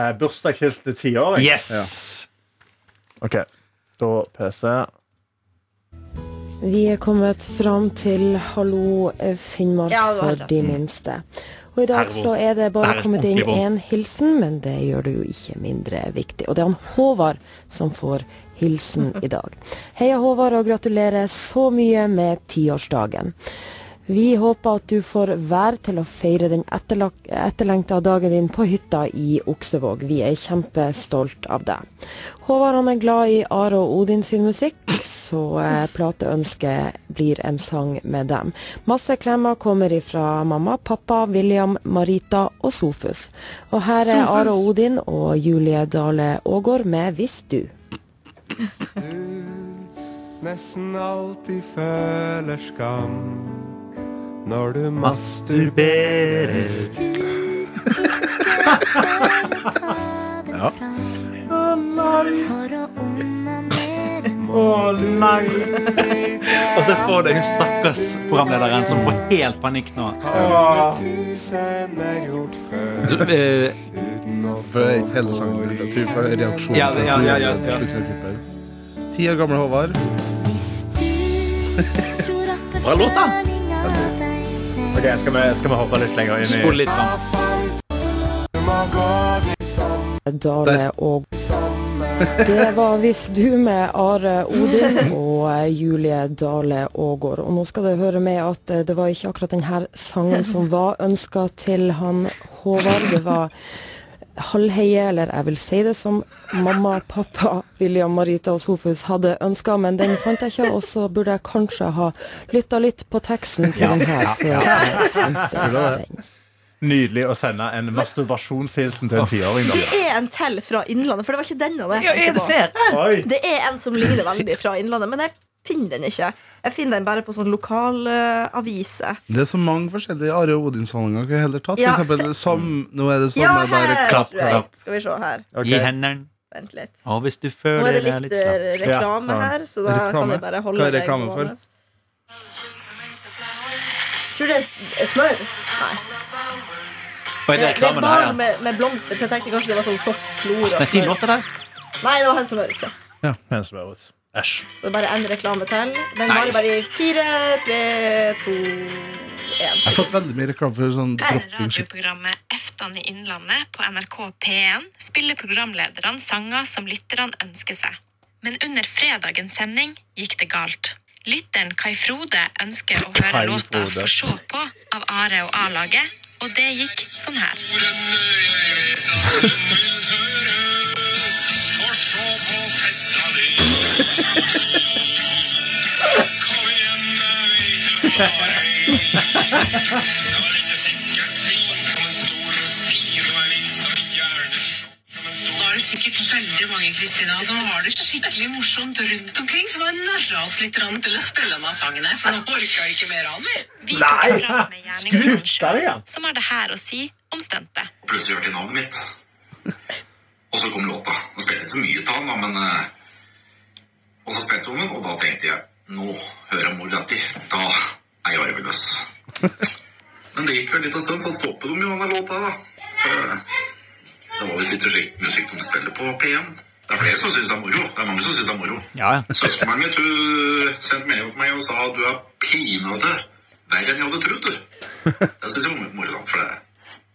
[SPEAKER 2] Eh, Bursdagshils til tiåring.
[SPEAKER 5] Yes!
[SPEAKER 2] Ja. OK. Da PC.
[SPEAKER 16] Vi er kommet fram til Hallo eh, Finnmark
[SPEAKER 4] Ja, det var helt
[SPEAKER 16] for
[SPEAKER 4] rett.
[SPEAKER 16] de
[SPEAKER 4] Mm.
[SPEAKER 16] minste. Og i dag
[SPEAKER 17] Her er
[SPEAKER 16] så
[SPEAKER 17] vondt.
[SPEAKER 16] er det
[SPEAKER 17] Det
[SPEAKER 16] bare
[SPEAKER 17] her er
[SPEAKER 16] kommet inn
[SPEAKER 17] ordentlig vondt.
[SPEAKER 16] én hilsen, men det gjør det jo ikke mindre viktig. Og det er han Håvard som får hilsen i dag. Heia Håvard, og gratulerer så mye med tiårsdagen. Vi håper at du får vær til å feire den etterlak- etterlengta dagen din på hytta i Oksevåg. Vi er kjempestolt av deg. Håvard han er glad i Are og Odin sin musikk, så eh, plateønsket blir en sang med dem. Masse klemmer kommer ifra mamma, pappa, William, Marita og Sofus. Og her er
[SPEAKER 17] Sofus.
[SPEAKER 16] Are og Odin og Julie Dale Aagaard med 'Hvis du'.
[SPEAKER 18] nesten alltid føler skam når du masturberer.
[SPEAKER 2] Ja. Å nei!
[SPEAKER 5] Og så får du hun stakkars programlederen som får helt panikk nå.
[SPEAKER 18] Har tusen er gjort
[SPEAKER 5] Du,
[SPEAKER 18] før.
[SPEAKER 5] eh,
[SPEAKER 3] For det er ikke hele sangen litteratur, for det er reaksjonen
[SPEAKER 5] Ja, ja, ja, ja, ja.
[SPEAKER 3] til slutten av klippet. Ti år gamle Håvard.
[SPEAKER 2] Bra låt, da. Ok, skal vi, skal vi hoppe litt lenger inn i
[SPEAKER 5] Spol litt fram.
[SPEAKER 16] Dale og Det var 'Hvis du' med Are Odin og eh, Julie Dale Aagaard. Og nå skal dere høre med at eh, det var ikke akkurat denne sangen som var ønska til han Håvard. Det var halvheie, eller jeg vil si det som mamma, pappa, William, Marita og Sofus hadde ønska, men den fant jeg ikke, og så burde jeg kanskje ha lytta litt på teksten til den her. før jeg sendte den.
[SPEAKER 2] Nydelig å sende en masturbasjonshilsen til en tiåring.
[SPEAKER 4] Det
[SPEAKER 2] da.
[SPEAKER 4] er en til fra Innlandet, for det var ikke denne. Det,
[SPEAKER 5] Ja, er det flere?
[SPEAKER 2] Oi.
[SPEAKER 4] det er en som ligner veldig fra Innlandet, men jeg finner den ikke. Jeg finner den bare på sånn lokal eh, avise.
[SPEAKER 3] Det er så mange forskjellige Are og Odin-sanger vi heller tatt. For
[SPEAKER 4] Ja,
[SPEAKER 3] eksempel
[SPEAKER 4] se-
[SPEAKER 3] som, Nå er det
[SPEAKER 4] Ja,
[SPEAKER 3] sommer,
[SPEAKER 4] her
[SPEAKER 3] bare
[SPEAKER 4] tror jeg. Skal vi se her.
[SPEAKER 5] Gi hendene.
[SPEAKER 4] Vent litt.
[SPEAKER 5] Og hvis du
[SPEAKER 4] Nå
[SPEAKER 5] føler
[SPEAKER 4] er det
[SPEAKER 5] deg
[SPEAKER 4] litt
[SPEAKER 5] slapp.
[SPEAKER 4] eh, reklame her, så da kan vi bare holde det gående. Tror du det er smør? Nei.
[SPEAKER 5] Oi, det er
[SPEAKER 4] eh, det er
[SPEAKER 5] reklamen her,
[SPEAKER 4] barn
[SPEAKER 5] ja.
[SPEAKER 4] med, med blomster, så jeg tenkte kanskje det var sånn soft flor. og
[SPEAKER 5] Det er fin
[SPEAKER 4] smør.
[SPEAKER 5] låt, det der.
[SPEAKER 4] Nei, det var han som var ute.
[SPEAKER 2] Ja, mens vi er ute. Æsj.
[SPEAKER 4] Så det er bare en reklame til. Den
[SPEAKER 2] Nei.
[SPEAKER 4] varer bare i fire, tre, to, én.
[SPEAKER 3] Jeg har fått veldig mye reklame for sånn
[SPEAKER 13] Her er
[SPEAKER 3] dropping.
[SPEAKER 13] radioprogrammet Eftan i Innlandet på NRK P1 spiller programlederne sanger som lytterne ønsker seg. Men under fredagens sending gikk det galt. Lytteren Kai Frode ønsker å høre
[SPEAKER 6] Kai
[SPEAKER 13] låta
[SPEAKER 6] Frode.
[SPEAKER 13] 'Få sjå på' av Are og A-laget, og det gikk sånn her.
[SPEAKER 6] Var det
[SPEAKER 13] sikkert veldig mange Kristina som har det skikkelig morsomt rundt omkring, som har narra oss litt grann til å spille av sangen her, for nå orka vi ikke mer av den.
[SPEAKER 17] Vi tok en prat med gjerningsmannen
[SPEAKER 13] Skruta
[SPEAKER 17] sjøl, som har det her å si om stuntet.
[SPEAKER 19] Plutselig hørte jeg navnet mitt. Og så kom låta. Nå spilte jeg ikke så mye til han, da, men eh, Og så spilte hun den, og da tenkte jeg Nå hører jeg mor Latti. Da er jeg arveløs. Men det gikk vel litt av stund, så stoppet de jo denne låta, da. For, eh, Det var visst ikke slik musikk de spiller på P1. Det er flere som syns det er moro. Det er mange som syns det er moro.
[SPEAKER 5] Ja, ja.
[SPEAKER 19] Søsteren min hun sendte melding til meg og sa at du er pinadø verre enn jeg hadde trodd. du. Det syns jeg var morsomt, for det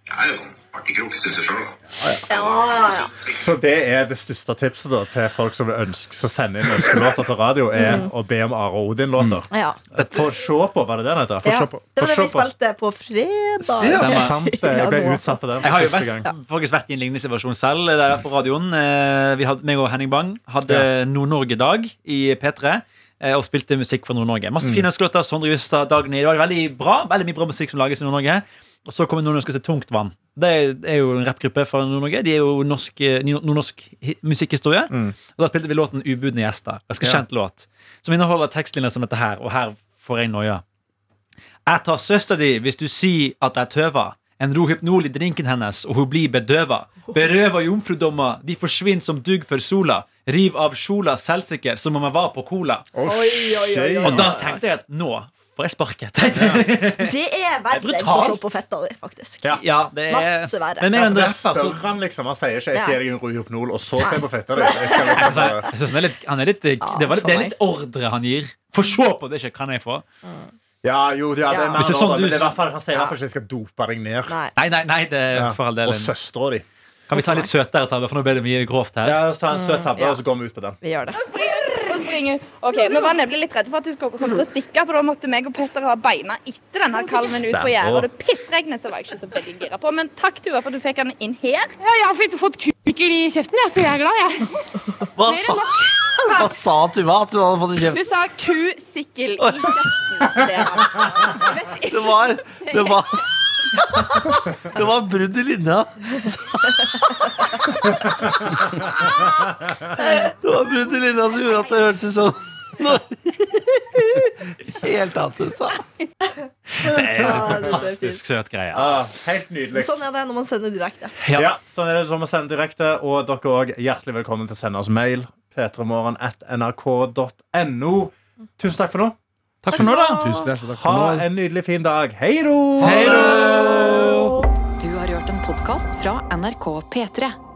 [SPEAKER 19] jeg er jo sånn artig krok, syns jeg sjøl.
[SPEAKER 2] Så det er det største tipset da, til folk som ønsker som sender inn ønskelåter til radio, er
[SPEAKER 4] Mm.
[SPEAKER 2] å be om Are Odin-låter.
[SPEAKER 4] Ja.
[SPEAKER 2] Få se på, var det det den heter? Få
[SPEAKER 4] Ja,
[SPEAKER 2] se
[SPEAKER 4] det
[SPEAKER 2] på.
[SPEAKER 4] var
[SPEAKER 2] Få
[SPEAKER 4] det
[SPEAKER 2] se
[SPEAKER 4] vi
[SPEAKER 2] på.
[SPEAKER 4] spilte på fredag.
[SPEAKER 2] Stemmer. Sant, det. Jeg ble
[SPEAKER 4] Ja, nå.
[SPEAKER 2] utsatt for den
[SPEAKER 5] Jeg har jo
[SPEAKER 2] første
[SPEAKER 5] vært,
[SPEAKER 2] gang.
[SPEAKER 5] faktisk vært i en lignende situasjon selv eh, der på radioen. Eh, Vi hadde, meg og Henning Bang hadde Nord-Norge-dag i P3 eh, og spilte musikk fra Nord-Norge. Masse
[SPEAKER 20] Mm.
[SPEAKER 5] fine ønskelåter. Sondre Justad, Dagny. Det var veldig bra, veldig mye bra musikk som lages i Nord-Norge. Og så kommer Nordnorsk og sier Tungt vann. Det er jo en rappgruppe fra Nord-Norge. De er jo norsk, eh, nordnorsk hi- musikkhistorie. Og da spilte vi låten 'Ubudne gjester'. Ganske
[SPEAKER 20] Ja.
[SPEAKER 5] kjent låt. Som inneholder tekstlinjer som dette her, og her får jeg noia. Jeg tar søster di hvis du sier at jeg tøver. En rohypnol i drinken hennes, og hun blir bedøva. Berøva jomfrudommer, de forsvinner som dugg for sola. Riv av kjola selvsikker, som om jeg var på cola.
[SPEAKER 4] oi, oi.
[SPEAKER 5] Og da tenkte jeg at nå får jeg sparket. tenkte jeg.
[SPEAKER 4] Det er verre enn å
[SPEAKER 5] brutalt.
[SPEAKER 4] se på fetta di, faktisk.
[SPEAKER 5] Ja, det er
[SPEAKER 4] Masse verre.
[SPEAKER 5] Men med en
[SPEAKER 4] Ja, for
[SPEAKER 5] dress,
[SPEAKER 4] det er
[SPEAKER 5] altså.
[SPEAKER 4] større.
[SPEAKER 2] Han liksom, han sier ikke 'jeg skal
[SPEAKER 4] Ja.
[SPEAKER 2] gi deg en rohypnol', og så se på fetta di. Jeg skal
[SPEAKER 5] Jeg
[SPEAKER 2] liksom
[SPEAKER 5] synes-
[SPEAKER 2] bare-
[SPEAKER 5] Altså, jeg synes han er litt, han er litt det, var litt, det er litt ordre han gir. Få se på det, ikke kan jeg få?
[SPEAKER 2] Ja, jo, ja, det er
[SPEAKER 5] Ja.
[SPEAKER 2] mer
[SPEAKER 5] Hvis det er
[SPEAKER 2] sånn
[SPEAKER 5] sånn du-
[SPEAKER 2] men det er i hvert fall, han sier i hvert fall ikke 'jeg skal dope deg ned'.
[SPEAKER 5] Nei, nei, nei det er for all del
[SPEAKER 2] Og søstera di.
[SPEAKER 5] Kan vi ta en litt søtere tabbe, for nå ble det mye grovt her.
[SPEAKER 2] Ja, så ta en søt tabbe, og så går vi ut på den.
[SPEAKER 4] Vi gjør det.
[SPEAKER 17] Og springer, og springer. Ok, men Vannet ble litt redd for at hun skulle komme til å stikke, for da måtte meg og Petter ha beina etter denne kalven ut på gjerdet. Og det pissregnet, så var jeg ikke så veldig gira på. Men takk, Tuva, for du fikk den inn her. Ja, jeg har fått kuker i kjeften, jeg, så jeg er glad, jeg.
[SPEAKER 20] Hva sa, hva sa Tuva at hun hadde fått i
[SPEAKER 17] Du
[SPEAKER 20] kjeften?
[SPEAKER 17] sa kusikkel i kjeften. Det var altså- Jeg vet ikke
[SPEAKER 20] Det var,
[SPEAKER 17] hva
[SPEAKER 20] det var Det var brudd i linja. Det var brudd i linja som gjorde at det hørtes ut som noe helt annet hun sa.
[SPEAKER 5] Det er en
[SPEAKER 4] Ja, det er
[SPEAKER 5] fantastisk søt greie.
[SPEAKER 2] Ah, helt nydelig.
[SPEAKER 4] Sånn er det når man sender direkte.
[SPEAKER 2] Ja. sånn er det som å sende direkte. Og dere er også hjertelig velkommen til å sende oss mail. P3morgen at nrk.no. Tusen takk for nå.
[SPEAKER 5] Takk for nå, da.
[SPEAKER 3] Tusen hjertelig takk for
[SPEAKER 2] Ha
[SPEAKER 3] nå.
[SPEAKER 2] en nydelig fin dag. Hei ro!
[SPEAKER 1] Du har hørt en podkast fra NRK P3.